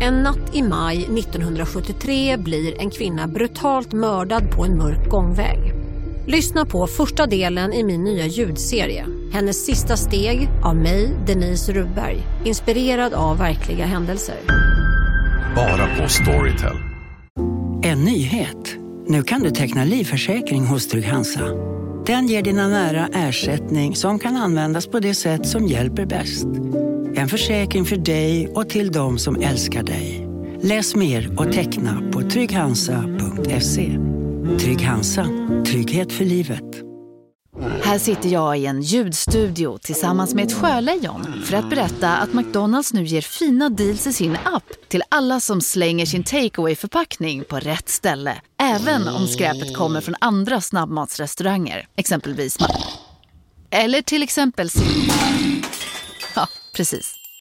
En natt i maj 1973 blir en kvinna brutalt mördad på en mörk gångväg. Lyssna på första delen i min nya ljudserie. Hennes sista steg av mig, Denise Rubberg. Inspirerad av verkliga händelser. Bara på Storytel. En nyhet. Nu kan du teckna livförsäkring hos Trygg-Hansa. Den ger dina nära ersättning som kan användas på det sätt som hjälper bäst. En försäkring för dig och till de som älskar dig. Läs mer och teckna på trygghansa.se. Trygg-Hansa. Trygghet för livet. Här sitter jag i en ljudstudio tillsammans med ett sjölejon för att berätta att McDonalds nu ger fina deals i sin app till alla som slänger sin takeaway förpackning på rätt ställe. Även om skräpet kommer från andra snabbmatsrestauranger, exempelvis Ma- Eller till exempel Sim- Ja, precis.